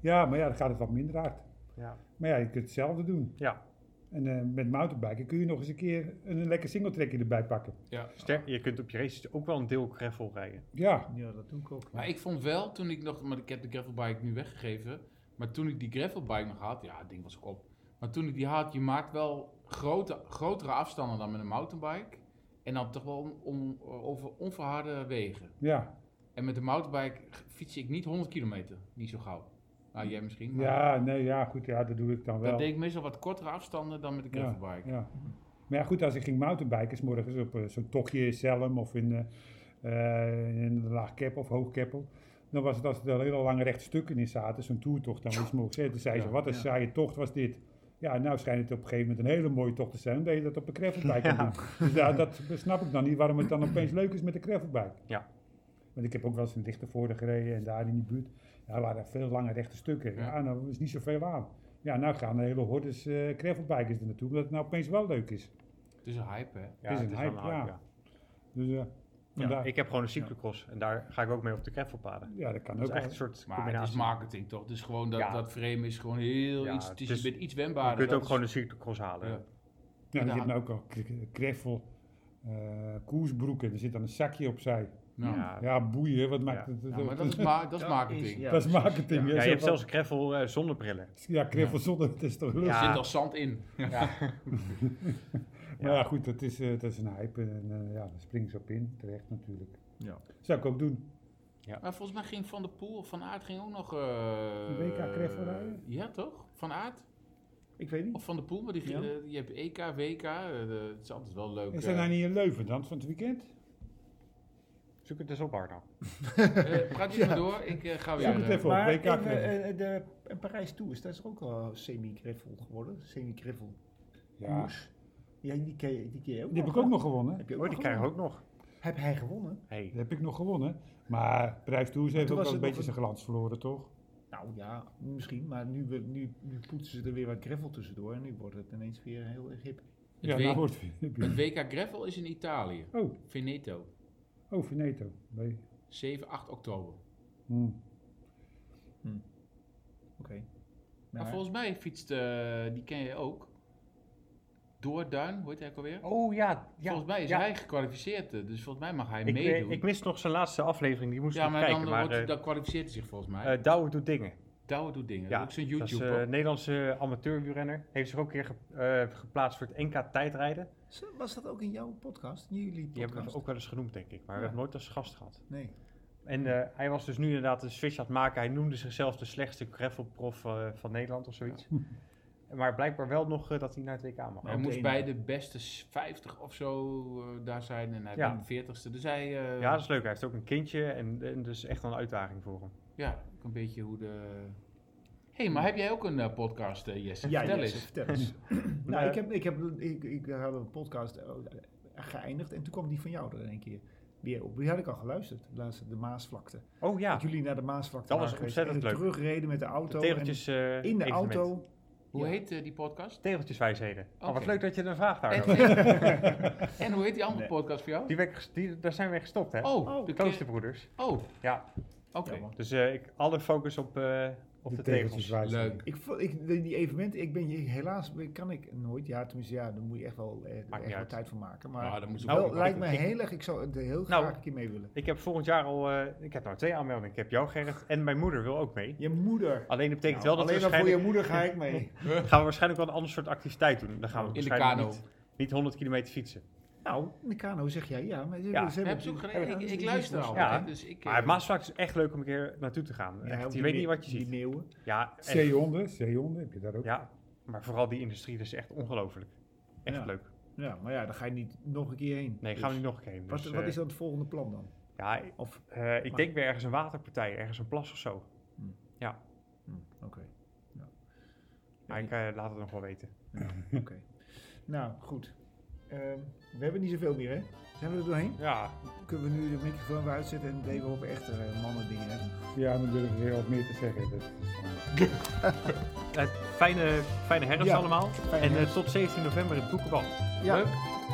D: Ja, maar ja, dan gaat het wat minder hard.
E: Ja.
D: Maar ja, je kunt hetzelfde doen.
E: ja.
D: En eh, met mountainbiken kun je nog eens een keer een, een lekker singletrekje erbij pakken.
C: Ja.
E: Sterk, je kunt op je races ook wel een deel gravel rijden.
D: Ja,
B: Ja, dat doe ik ook.
C: Maar ik vond wel, toen ik nog, maar ik heb de gravelbike nu weggegeven. Maar toen ik die gravelbike nog had, ja, het ding was ook op. Maar toen ik die had, je maakt wel grote, grotere afstanden dan met een mountainbike. En dan toch wel on- on- over onverharde wegen.
D: ja,
C: En met de mountainbike g- fiets ik niet 100 kilometer, niet zo gauw. Nou, jij misschien, maar
D: ja, nee, ja, goed, ja, dat doe ik dan wel.
C: dat deed ik meestal wat kortere afstanden dan met de
D: Ja,
C: gravelbike.
D: ja. Maar ja, goed, als ik ging mountainbiken, is morgens op eh, zo'n tochtje in Selm of in, eh, eh, in Laagkeppel of Hoogkeppel, dan was het als er hele lange rechte stukken in zaten, zo'n toertocht, dan was morgens. hè, Toen zei ze,
C: Ja,
D: wat een
B: ja.
D: saaie tocht was dit. Ja, nou schijnt het op een gegeven moment een hele mooie tocht te zijn, omdat je dat op een gravelbike kan doen. Dus ja, dat snap ik dan niet, waarom het dan opeens leuk is met de gravelbike.
E: Ja.
D: Want ik heb ook wel eens in lichte voorde gereden en daar in die buurt. Ja, waren veel lange rechte stukken. Ja,
C: Ja.
D: nou is niet zoveel aan. Ja, nou gaan de hele hordes eh gravelbikers er naartoe, omdat het nou opeens wel leuk is.
C: Het is een hype, hè?
E: Ja,
D: is een
E: Dus wel
D: hype, ja.
E: ja.
D: Dus ja,
E: Ja,
D: vandaar.
E: ik heb gewoon een cyclocross en daar ga ik ook mee op de gravelpaden.
D: ja dat
E: Dat
D: kan ook.
E: is
D: wel.
E: echt een soort
C: Maar het is
E: combinatie.
C: marketing toch? Dus gewoon dat,
E: Ja.
C: dat frame is gewoon heel
E: Ja,
C: iets. Het
E: het
C: is,
E: is-
C: je bent iets wendbaarder.
E: Je kunt
C: dat
E: ook
C: is-
E: gewoon een cyclocross halen.
C: Ja.
D: Ja,
C: Ja.
D: je hebt nou ook al k- kreffel, eh, koersbroeken. Er zit dan een zakje opzij.
C: Ja.
E: Ja.
D: Ja, boeien, wat maakt
E: Ja.
D: het?
C: Ja, maar dat is, ma- dat is marketing.
B: ja,
D: dat is
B: precies.
D: marketing.
E: Ja,
D: zo
E: je hebt
D: van-
E: zelfs een gravel eh, zonder brillen.
D: Ja, kreffel zonder, het is toch leuk.
E: Ja.
C: Er zit al zand in.
D: Maar ja, goed, dat is, eh, dat is een hype. En eh, ja, daar springen ze op in, terecht natuurlijk.
B: Ja.
D: Zou ik ook doen.
C: Maar volgens mij ging Van der Poel of Van Aert ging ook nog... eh,
D: WK Kreffel rijden?
C: Ja, toch? Van Aert
D: Ik weet niet.
C: of Van der Poel, maar die, ging,
D: Ja.
C: eh, je hebt EK, WK. eh, de- het is altijd wel leuk.
D: Is dat
C: eh,
D: nou niet in Leuven dan, van het weekend?
E: Zoek het dus op, Arno.
C: eh, praat je maar door, ik eh, ga weer...
D: Zoek het
C: eh,
D: even op,
B: Maar
D: WK
B: even,
D: kreffel.
B: eh, de en Parijs Tours, dat is ook al semi-griffel geworden. Semi-griffel
D: Ja,
B: koers. Ja, die ken, je, die ken je ook
D: die heb ik ook
B: hè?
D: nog gewonnen.
B: Heb je ook
E: Oh,
B: nog
E: die krijgen we
B: gewonnen?
E: ook nog.
B: Heb hij gewonnen?
E: Hey.
D: Die heb ik nog gewonnen. Maar Prijs Tours heeft
B: toen
D: ook
B: was
D: wel een
B: het nog
D: beetje zijn glans verloren, toch?
B: Nou ja, misschien, maar nu, we- nu, nu poetsen ze er weer wat gravel tussendoor en nu wordt het ineens weer heel erg hip.
C: Het,
D: Ja,
C: W-
D: nou wordt
C: het WK Gravel is in Italië.
D: Oh,
C: Veneto.
D: oh, Veneto. Nee.
C: 7, 8 oktober.
D: Hm.
B: Oké.
C: Maar
B: Maar-
C: volgens mij fietst, eh, die ken je ook, Doorduin, hoe heet hij ook alweer?
E: Oh ja, ja.
C: volgens mij is
E: ja.
C: hij gekwalificeerd, eh, dus volgens mij mag hij
E: Ik, eh,
C: meedoen.
E: ik mis nog zijn laatste aflevering, die moest ik
C: ja,
E: nog
C: maar
E: kijken.
C: dan,
E: maar
C: wordt,
E: eh,
C: dan kwalificeert hij zich volgens mij.
E: eh, Douwe doet dingen.
C: Douwe doet dingen,
E: ja,
C: dat is ook zo'n
E: Dat is eh,
C: YouTuber.
E: een Nederlandse amateurwielrenner. Heeft zich ook een keer ge- eh, geplaatst voor het NK tijdrijden.
B: Zo, Was dat ook in jouw podcast? In jullie
E: Die hebben
B: podcast?
E: we ook wel eens genoemd, denk ik. Maar we
B: Ja.
E: hebben hem nooit als gast gehad.
B: Nee.
E: En eh, hij was dus nu inderdaad een switch aan het maken. Hij noemde zichzelf de slechtste gravelprof eh, van Nederland of zoiets. Maar blijkbaar wel nog eh, dat hij naar het WK mag.
C: hij
B: op de
C: moest
B: ene-
C: bij de beste s- 50 of zo eh, daar zijn en hij
E: Ja.
C: bent 40ste. Dus hij, eh,
E: Ja, dat is leuk. Hij heeft ook een kindje en, en dus echt wel een uitdaging voor hem.
C: ja, ook een beetje hoe de... Hé, hey, maar heb jij ook een eh, podcast, eh, Jesse?
B: Ja,
C: Vertel
B: Jesse,
C: eens.
B: vertel eens. nou,
E: Eh,
B: ik, heb, ik, heb, ik, ik had een podcast eh, geëindigd en toen kwam die van jou er een keer weer op. Die had ik al geluisterd, de laatste, de Maasvlakte.
E: Oh ja,
B: Dat jullie naar de Maasvlakte
E: Dat was
B: waren geweest
E: ontzettend
B: en
E: leuk.
B: terugreden met de
E: de
B: auto.
E: tegeltjes, eh,
B: en in de
E: evenement.
B: auto.
C: Hoe
B: Ja.
C: heet eh, die podcast?
E: Tegeltjeswijsheden. Oh, wat
C: Oké.
E: leuk dat je een vraag daar
C: En,
E: had.
C: en hoe heet die andere
B: Nee.
C: podcast voor jou?
E: Die werd ges- die, daar zijn we gestopt, hè?
C: Oh,
B: Oh,
C: de
E: de
C: keer-
E: Kloosterbroeders.
C: Oh,
E: Ja,
C: oké.
B: Jammer.
E: dus eh, ik, alle focus op, eh, op de, tegeltjes.
D: wijzen.
C: Leuk.
B: Ik, vo- ik, die die evenementen, ik ben je- helaas kan ik nooit. Ja, tenminste, ja, daar moet je echt wel, eh,
E: niet
B: echt wel
E: uit.
B: tijd voor maken.
C: Nou,
B: Maar
C: dan moet je
B: wel,
C: ook-
B: lijkt me
E: ik-
B: heel erg, ik zou het heel
E: Nou,
B: graag een keer mee willen.
E: Ik heb volgend jaar al, eh, ik heb nou twee aanmeldingen. Ik heb jou, Gerrit, en mijn moeder wil ook mee.
B: Je moeder.
E: Alleen dat betekent
B: Nou,
E: wel dat
B: alleen
E: we
B: maar voor
E: waarschijnlijk,
B: je moeder ga ik mee.
E: gaan we waarschijnlijk wel een ander soort activiteit doen. Dan gaan we
C: In de
E: waarschijnlijk
C: kano.
E: Niet, niet 100 kilometer fietsen.
B: Nou, in de kano zeg jij ja. Maar
E: Ja,
C: We hebben ze ook gereden. Ik, ik luister al.
E: Ja.
C: Dus ik,
E: Maar het Maasvlak is echt leuk om een keer naartoe te gaan. Echt, je weet niet wat je
B: Die
E: ziet.
B: meeuwen.
E: Ja, echt.
D: Zeehonden, zeehonden heb je daar ook.
E: ja, maar vooral die industrie, dat is echt ongelooflijk. Echt
B: Ja.
E: leuk.
B: Ja, maar ja, daar ga je niet nog een keer heen.
E: Nee,
B: Dus
E: gaan we niet nog een keer heen.
B: Wat,
E: Dus,
B: wat
E: eh,
B: is dan het volgende plan dan?
E: Ja, ik-
B: Of,
E: eh, ik
B: Maar-
E: denk weer ergens een waterpartij, ergens een plas of zo.
B: hm, oké. Ja.
E: Maar ik eh, laat het nog wel weten.
B: Oké. Nou, goed. Ehm, we hebben niet zoveel meer, hè? Zijn we er doorheen?
E: Ja,
B: Kunnen we nu de microfoon weer uitzetten en deden we op echte eh, mannen dingen hebben?
D: Ja, dan durf ik weer wat meer te zeggen. Dat is, eh,
E: eh, fijne, fijne herfst
D: Ja,
E: allemaal.
D: fijne
E: en eh,
D: herfst.
E: tot 17 november in het Boekenbal.
B: Ja.
C: Leuk.